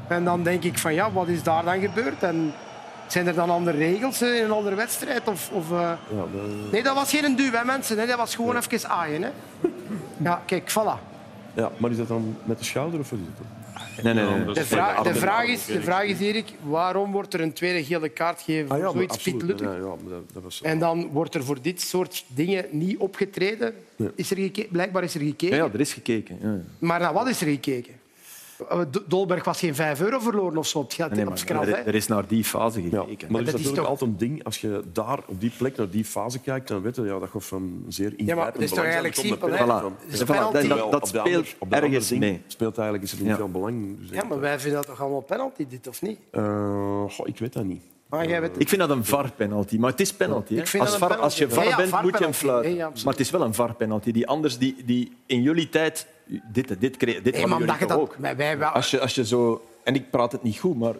S2: En dan denk ik van ja, wat is daar dan gebeurd? En zijn er dan andere regels eh, in een andere wedstrijd? Of, of, eh,
S3: Ja, dat-
S2: Nee, dat was geen duw, hè, mensen. Hè? Dat was gewoon even aaien. Hè? Ja, kijk, voilà.
S3: ja, maar is dat dan met de schouder of wat is het dan?
S1: Nee, nee, nee.
S2: De, vraag, de, vraag is, de vraag is, Erik, waarom wordt er een tweede gele kaart gegeven voor
S3: Ah, ja, maar
S2: zoiets
S3: absoluut.
S2: Piet Luttig?
S3: Nee, ja, maar dat, dat was...
S2: En dan wordt er voor dit soort dingen niet opgetreden.
S1: Nee.
S2: Is er geke- Blijkbaar is er
S1: Ja,
S2: gekeken.
S1: ja, er is gekeken. Ja. ja.
S2: Maar naar wat is er gekeken? Eh, Do- Dolberg was geen 5 euro verloren of zo op het geld-
S1: Ah, Nee,
S2: op
S1: maar
S2: het krab,
S1: er,
S2: hè?
S1: er is naar die fase gekeken.
S3: Maar er is
S2: dat is
S3: natuurlijk
S2: toch-
S3: altijd een ding, als je daar op die plek naar die fase kijkt, dan weet je ja, dat gaat van zeer ingrijpend
S2: maar dat is toch
S3: belang zijn.
S2: eigenlijk
S3: Dan komt de
S2: simpel, hè?
S3: penalty
S2: Voilà.
S3: van.
S2: Dus de penalty-
S3: Terwijl
S1: dat- dat
S3: op de andere-
S1: speelt
S3: op de andere
S1: ergens
S3: ding
S1: mee.
S3: speelt eigenlijk is er niet
S1: Ja.
S3: veel belang. Dus
S2: Ja, maar wij vinden dat toch allemaal penalty, dit of niet?
S3: Eh, goh, ik weet dat niet.
S2: Maar jij weet het.
S1: Ik vind dat een VAR-penalty, maar het is penalty. hè.
S2: Ik vind
S1: Als,
S2: dat een
S1: VAR
S2: penalty.
S1: als je
S2: Ja,
S1: VAR
S2: ja,
S1: bent, moet je hem
S2: VAR-penalty.
S1: fluiten.
S2: Ja, ja, absoluut.
S1: maar het is wel een VAR-penalty. Die anders, die, die in jullie tijd... Dit, dit, dit, dit
S2: Nee, maar
S1: hadden
S2: omdat je
S1: jullie
S2: dat...
S1: toch ook.
S2: Wij, wij,
S1: Als je, als je zo... En ik praat het niet goed, maar...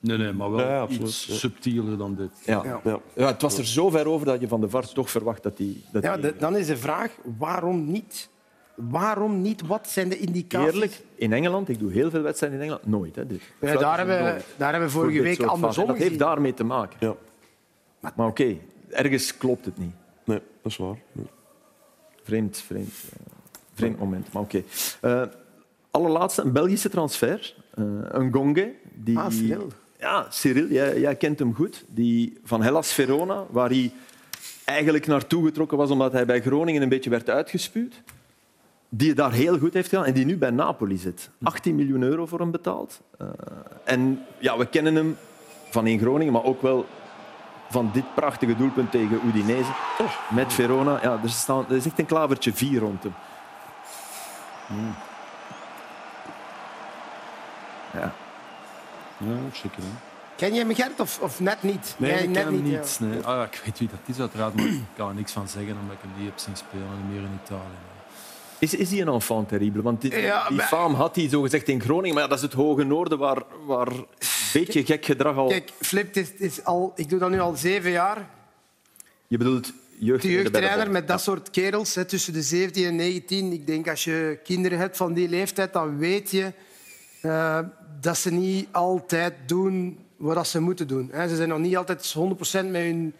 S4: Nee, nee, maar wel
S1: Ja, ja, absoluut,
S4: iets
S1: ja.
S4: subtieler dan dit.
S1: Ja. Ja. het was er zo ver over dat je van de VAR toch verwacht dat die... Dat
S2: ja,
S1: die-
S2: de- dan is de vraag, waarom niet? Waarom niet? Wat zijn de indicaties?
S1: Eerlijk, in Engeland, ik doe heel veel wedstrijden in Engeland, nooit. Hè, dit.
S2: Ja, Eh, daar, hebben, we- daar hebben we
S1: Voor
S2: vorige
S1: dit
S2: week
S1: soort
S2: andersom
S1: fasen. Dat heeft
S2: gezien.
S1: daarmee te maken. Maar oké, ergens klopt het niet.
S3: Nee, dat is waar. Nee.
S1: Vreemd, vreemd, eh, vreemd moment. Maar oké. Eh, allerlaatste, een Belgische transfer. Eh, een Gonge. Die...
S2: Ah, Cyril.
S1: Ja, Cyril, jij, jij kent hem goed. Die van Hellas Verona, waar hij eigenlijk naartoe getrokken was omdat hij bij Groningen een beetje werd uitgespuwd. Die het daar heel goed heeft gedaan en die nu bij Napoli zit. 18 miljoen euro voor hem betaald. Eh, en ja, we kennen hem van in Groningen, maar ook wel van dit prachtige doelpunt tegen Udinese. Met Verona. Ja, er, staan, er is echt een klavertje vier rond hem. Hmm. Ja.
S4: Ja, zeker. hè.
S2: Ken je hem, Gert, of, of net niet?
S4: Nee,
S2: Jij
S4: ik
S2: net
S4: ken hem
S2: ja.
S4: niet. Nee. Ah, ja, ik weet wie dat is uiteraard, maar ik kan er niks van zeggen omdat ik hem niet heb zien spelen en meer in Italië.
S1: Is, is die een enfant terrible? Want die,
S4: Ja,
S1: die
S4: maar-
S1: faam had hij zogezegd in Groningen, maar ja, dat is het hoge noorden waar, waar een beetje gek gedrag al...
S2: Kijk, Flip, het is, het is al, ik doe dat nu al zeven jaar.
S1: Je bedoelt jeugd...
S2: De jeugdtrainer met dat soort kerels, hè, tussen de 17 en 19. Ik denk als je kinderen hebt van die leeftijd, dan weet je eh, dat ze niet altijd doen wat dat ze moeten doen. Hè. Ze zijn nog niet altijd 100% met hun,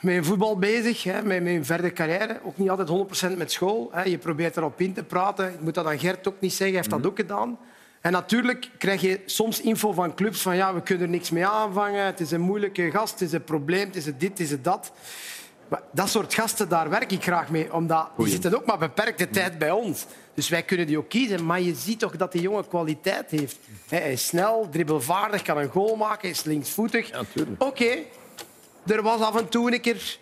S2: met hun voetbal bezig, hè, met, met hun verdere carrière. Ook niet altijd 100% met school. Hè. Je probeert erop in te praten. Ik moet dat aan Gert ook niet zeggen, hij heeft dat ook gedaan. En natuurlijk krijg je soms info van clubs van ja, we kunnen er niks mee aanvangen. Het is een moeilijke gast, het is een probleem, het is het dit, het is het dat. Maar dat soort gasten, daar werk ik graag mee. Omdat die
S1: Goeie.
S2: zitten ook maar beperkte tijd bij ons. Dus wij kunnen die ook kiezen. Maar je ziet toch dat die jongen kwaliteit heeft. Hè, Hij is snel, dribbelvaardig, kan een goal maken, is linksvoetig. Oké, er was af en toe een keer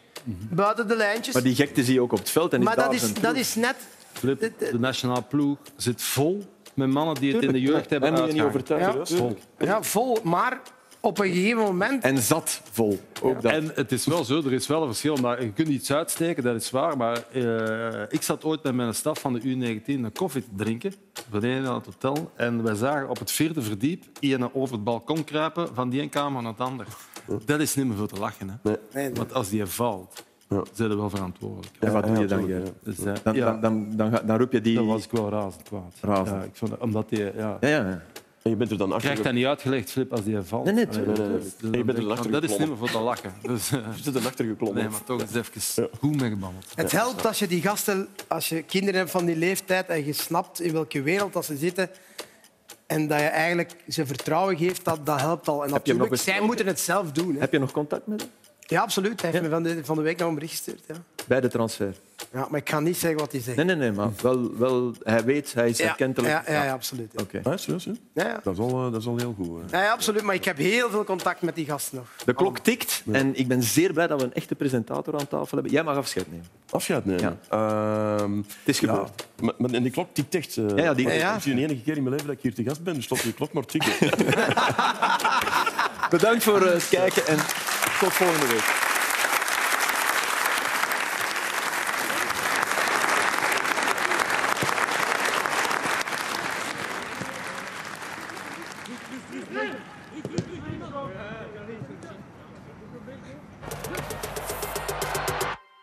S2: buiten de lijntjes.
S1: Maar die gekte zie je ook op het veld. En
S2: Maar
S1: is
S2: dat
S1: daar
S2: is,
S1: zijn
S2: dat is net...
S4: Flip, de nationale ploeg zit vol met mannen die het in de
S1: Tuurlijk, ja.
S4: jeugd hebben
S1: Wij moeten je niet
S4: uitgehangen.
S1: overtuigen,
S4: vol.
S1: tuurlijk.
S2: Ja, vol, maar op een gegeven moment...
S1: En zat vol. Ook dat.
S4: En het is wel zo, er is wel een verschil. Maar je kunt iets uitsteken, dat is waar. Maar eh, ik zat ooit met mijn staf van de U19 een koffie te drinken. Beneden aan het hotel. En wij zagen op het vierde verdiep iemand over het balkon kruipen van die ene kamer naar het andere. Dat is niet meer voor te lachen. Hè? Want als die valt, zijn we wel verantwoordelijk.
S1: En wat doe je dan,
S4: Ja,
S1: Gerrit?
S4: dus, eh,
S1: Dan,
S4: ja.
S1: dan, dan, dan, ga- dan roep je die...
S4: Dat was ik wel razend kwaad.
S1: Razend.
S4: Ja, ik vond dat- omdat die, ja.
S1: Ja, ja.
S3: En je bent er dan
S4: Je
S3: achter.
S4: krijgt dat niet uitgelegd, Flip, als die valt.
S1: Nee, nee,
S4: Allee,
S1: tuurlijk.
S4: dat is-
S3: En je bent er achter
S4: Dat is niet meer
S3: geklommen.
S4: voor te lachen. Dus, eh,
S3: Je bent er achter geklommen.
S4: nee, maar toch eens even goed meegebabbeld.
S2: Het helpt als je die gasten, als je kinderen hebt van die leeftijd en je snapt in welke wereld dat ze zitten en dat je eigenlijk ze vertrouwen geeft, dat, dat helpt al. En
S1: Heb je hem nog
S2: natuurlijk,
S1: eens-
S2: zij moeten het zelf doen. Hè.
S1: Heb je nog contact met hem?
S2: Ja, absoluut. Hij heeft me van de, van de week nog een bericht gestuurd. Ja.
S1: Bij de transfer.
S2: Ja, maar ik kan niet zeggen wat hij zegt.
S1: Nee, nee, nee, maar wel, wel, hij weet, hij is
S2: Ja,
S1: herkentelijk.
S2: ja, ja, ja, absoluut, ja.
S1: Oké.
S3: Ja, serieus, hè?
S2: Ja, ja.
S3: Dat, is al, eh, dat is al heel goed. hè.
S2: Ja, ja, absoluut. Maar ik heb heel veel contact met die gasten nog.
S1: De klok tikt en ik ben zeer blij dat we een echte presentator aan tafel hebben. Jij mag afscheid nemen.
S3: Afscheid nemen? het
S1: is gebeurd.
S3: maar, maar- en die klok tikt echt. eh,
S1: Ja, ja, die-
S3: maar
S1: Ja, ja.
S3: Het is de enige keer in mijn leven dat ik hier te gast ben, dus laat die klok maar tikken.
S1: Bedankt voor eh, het kijken en tot volgende week.
S12: Thank you.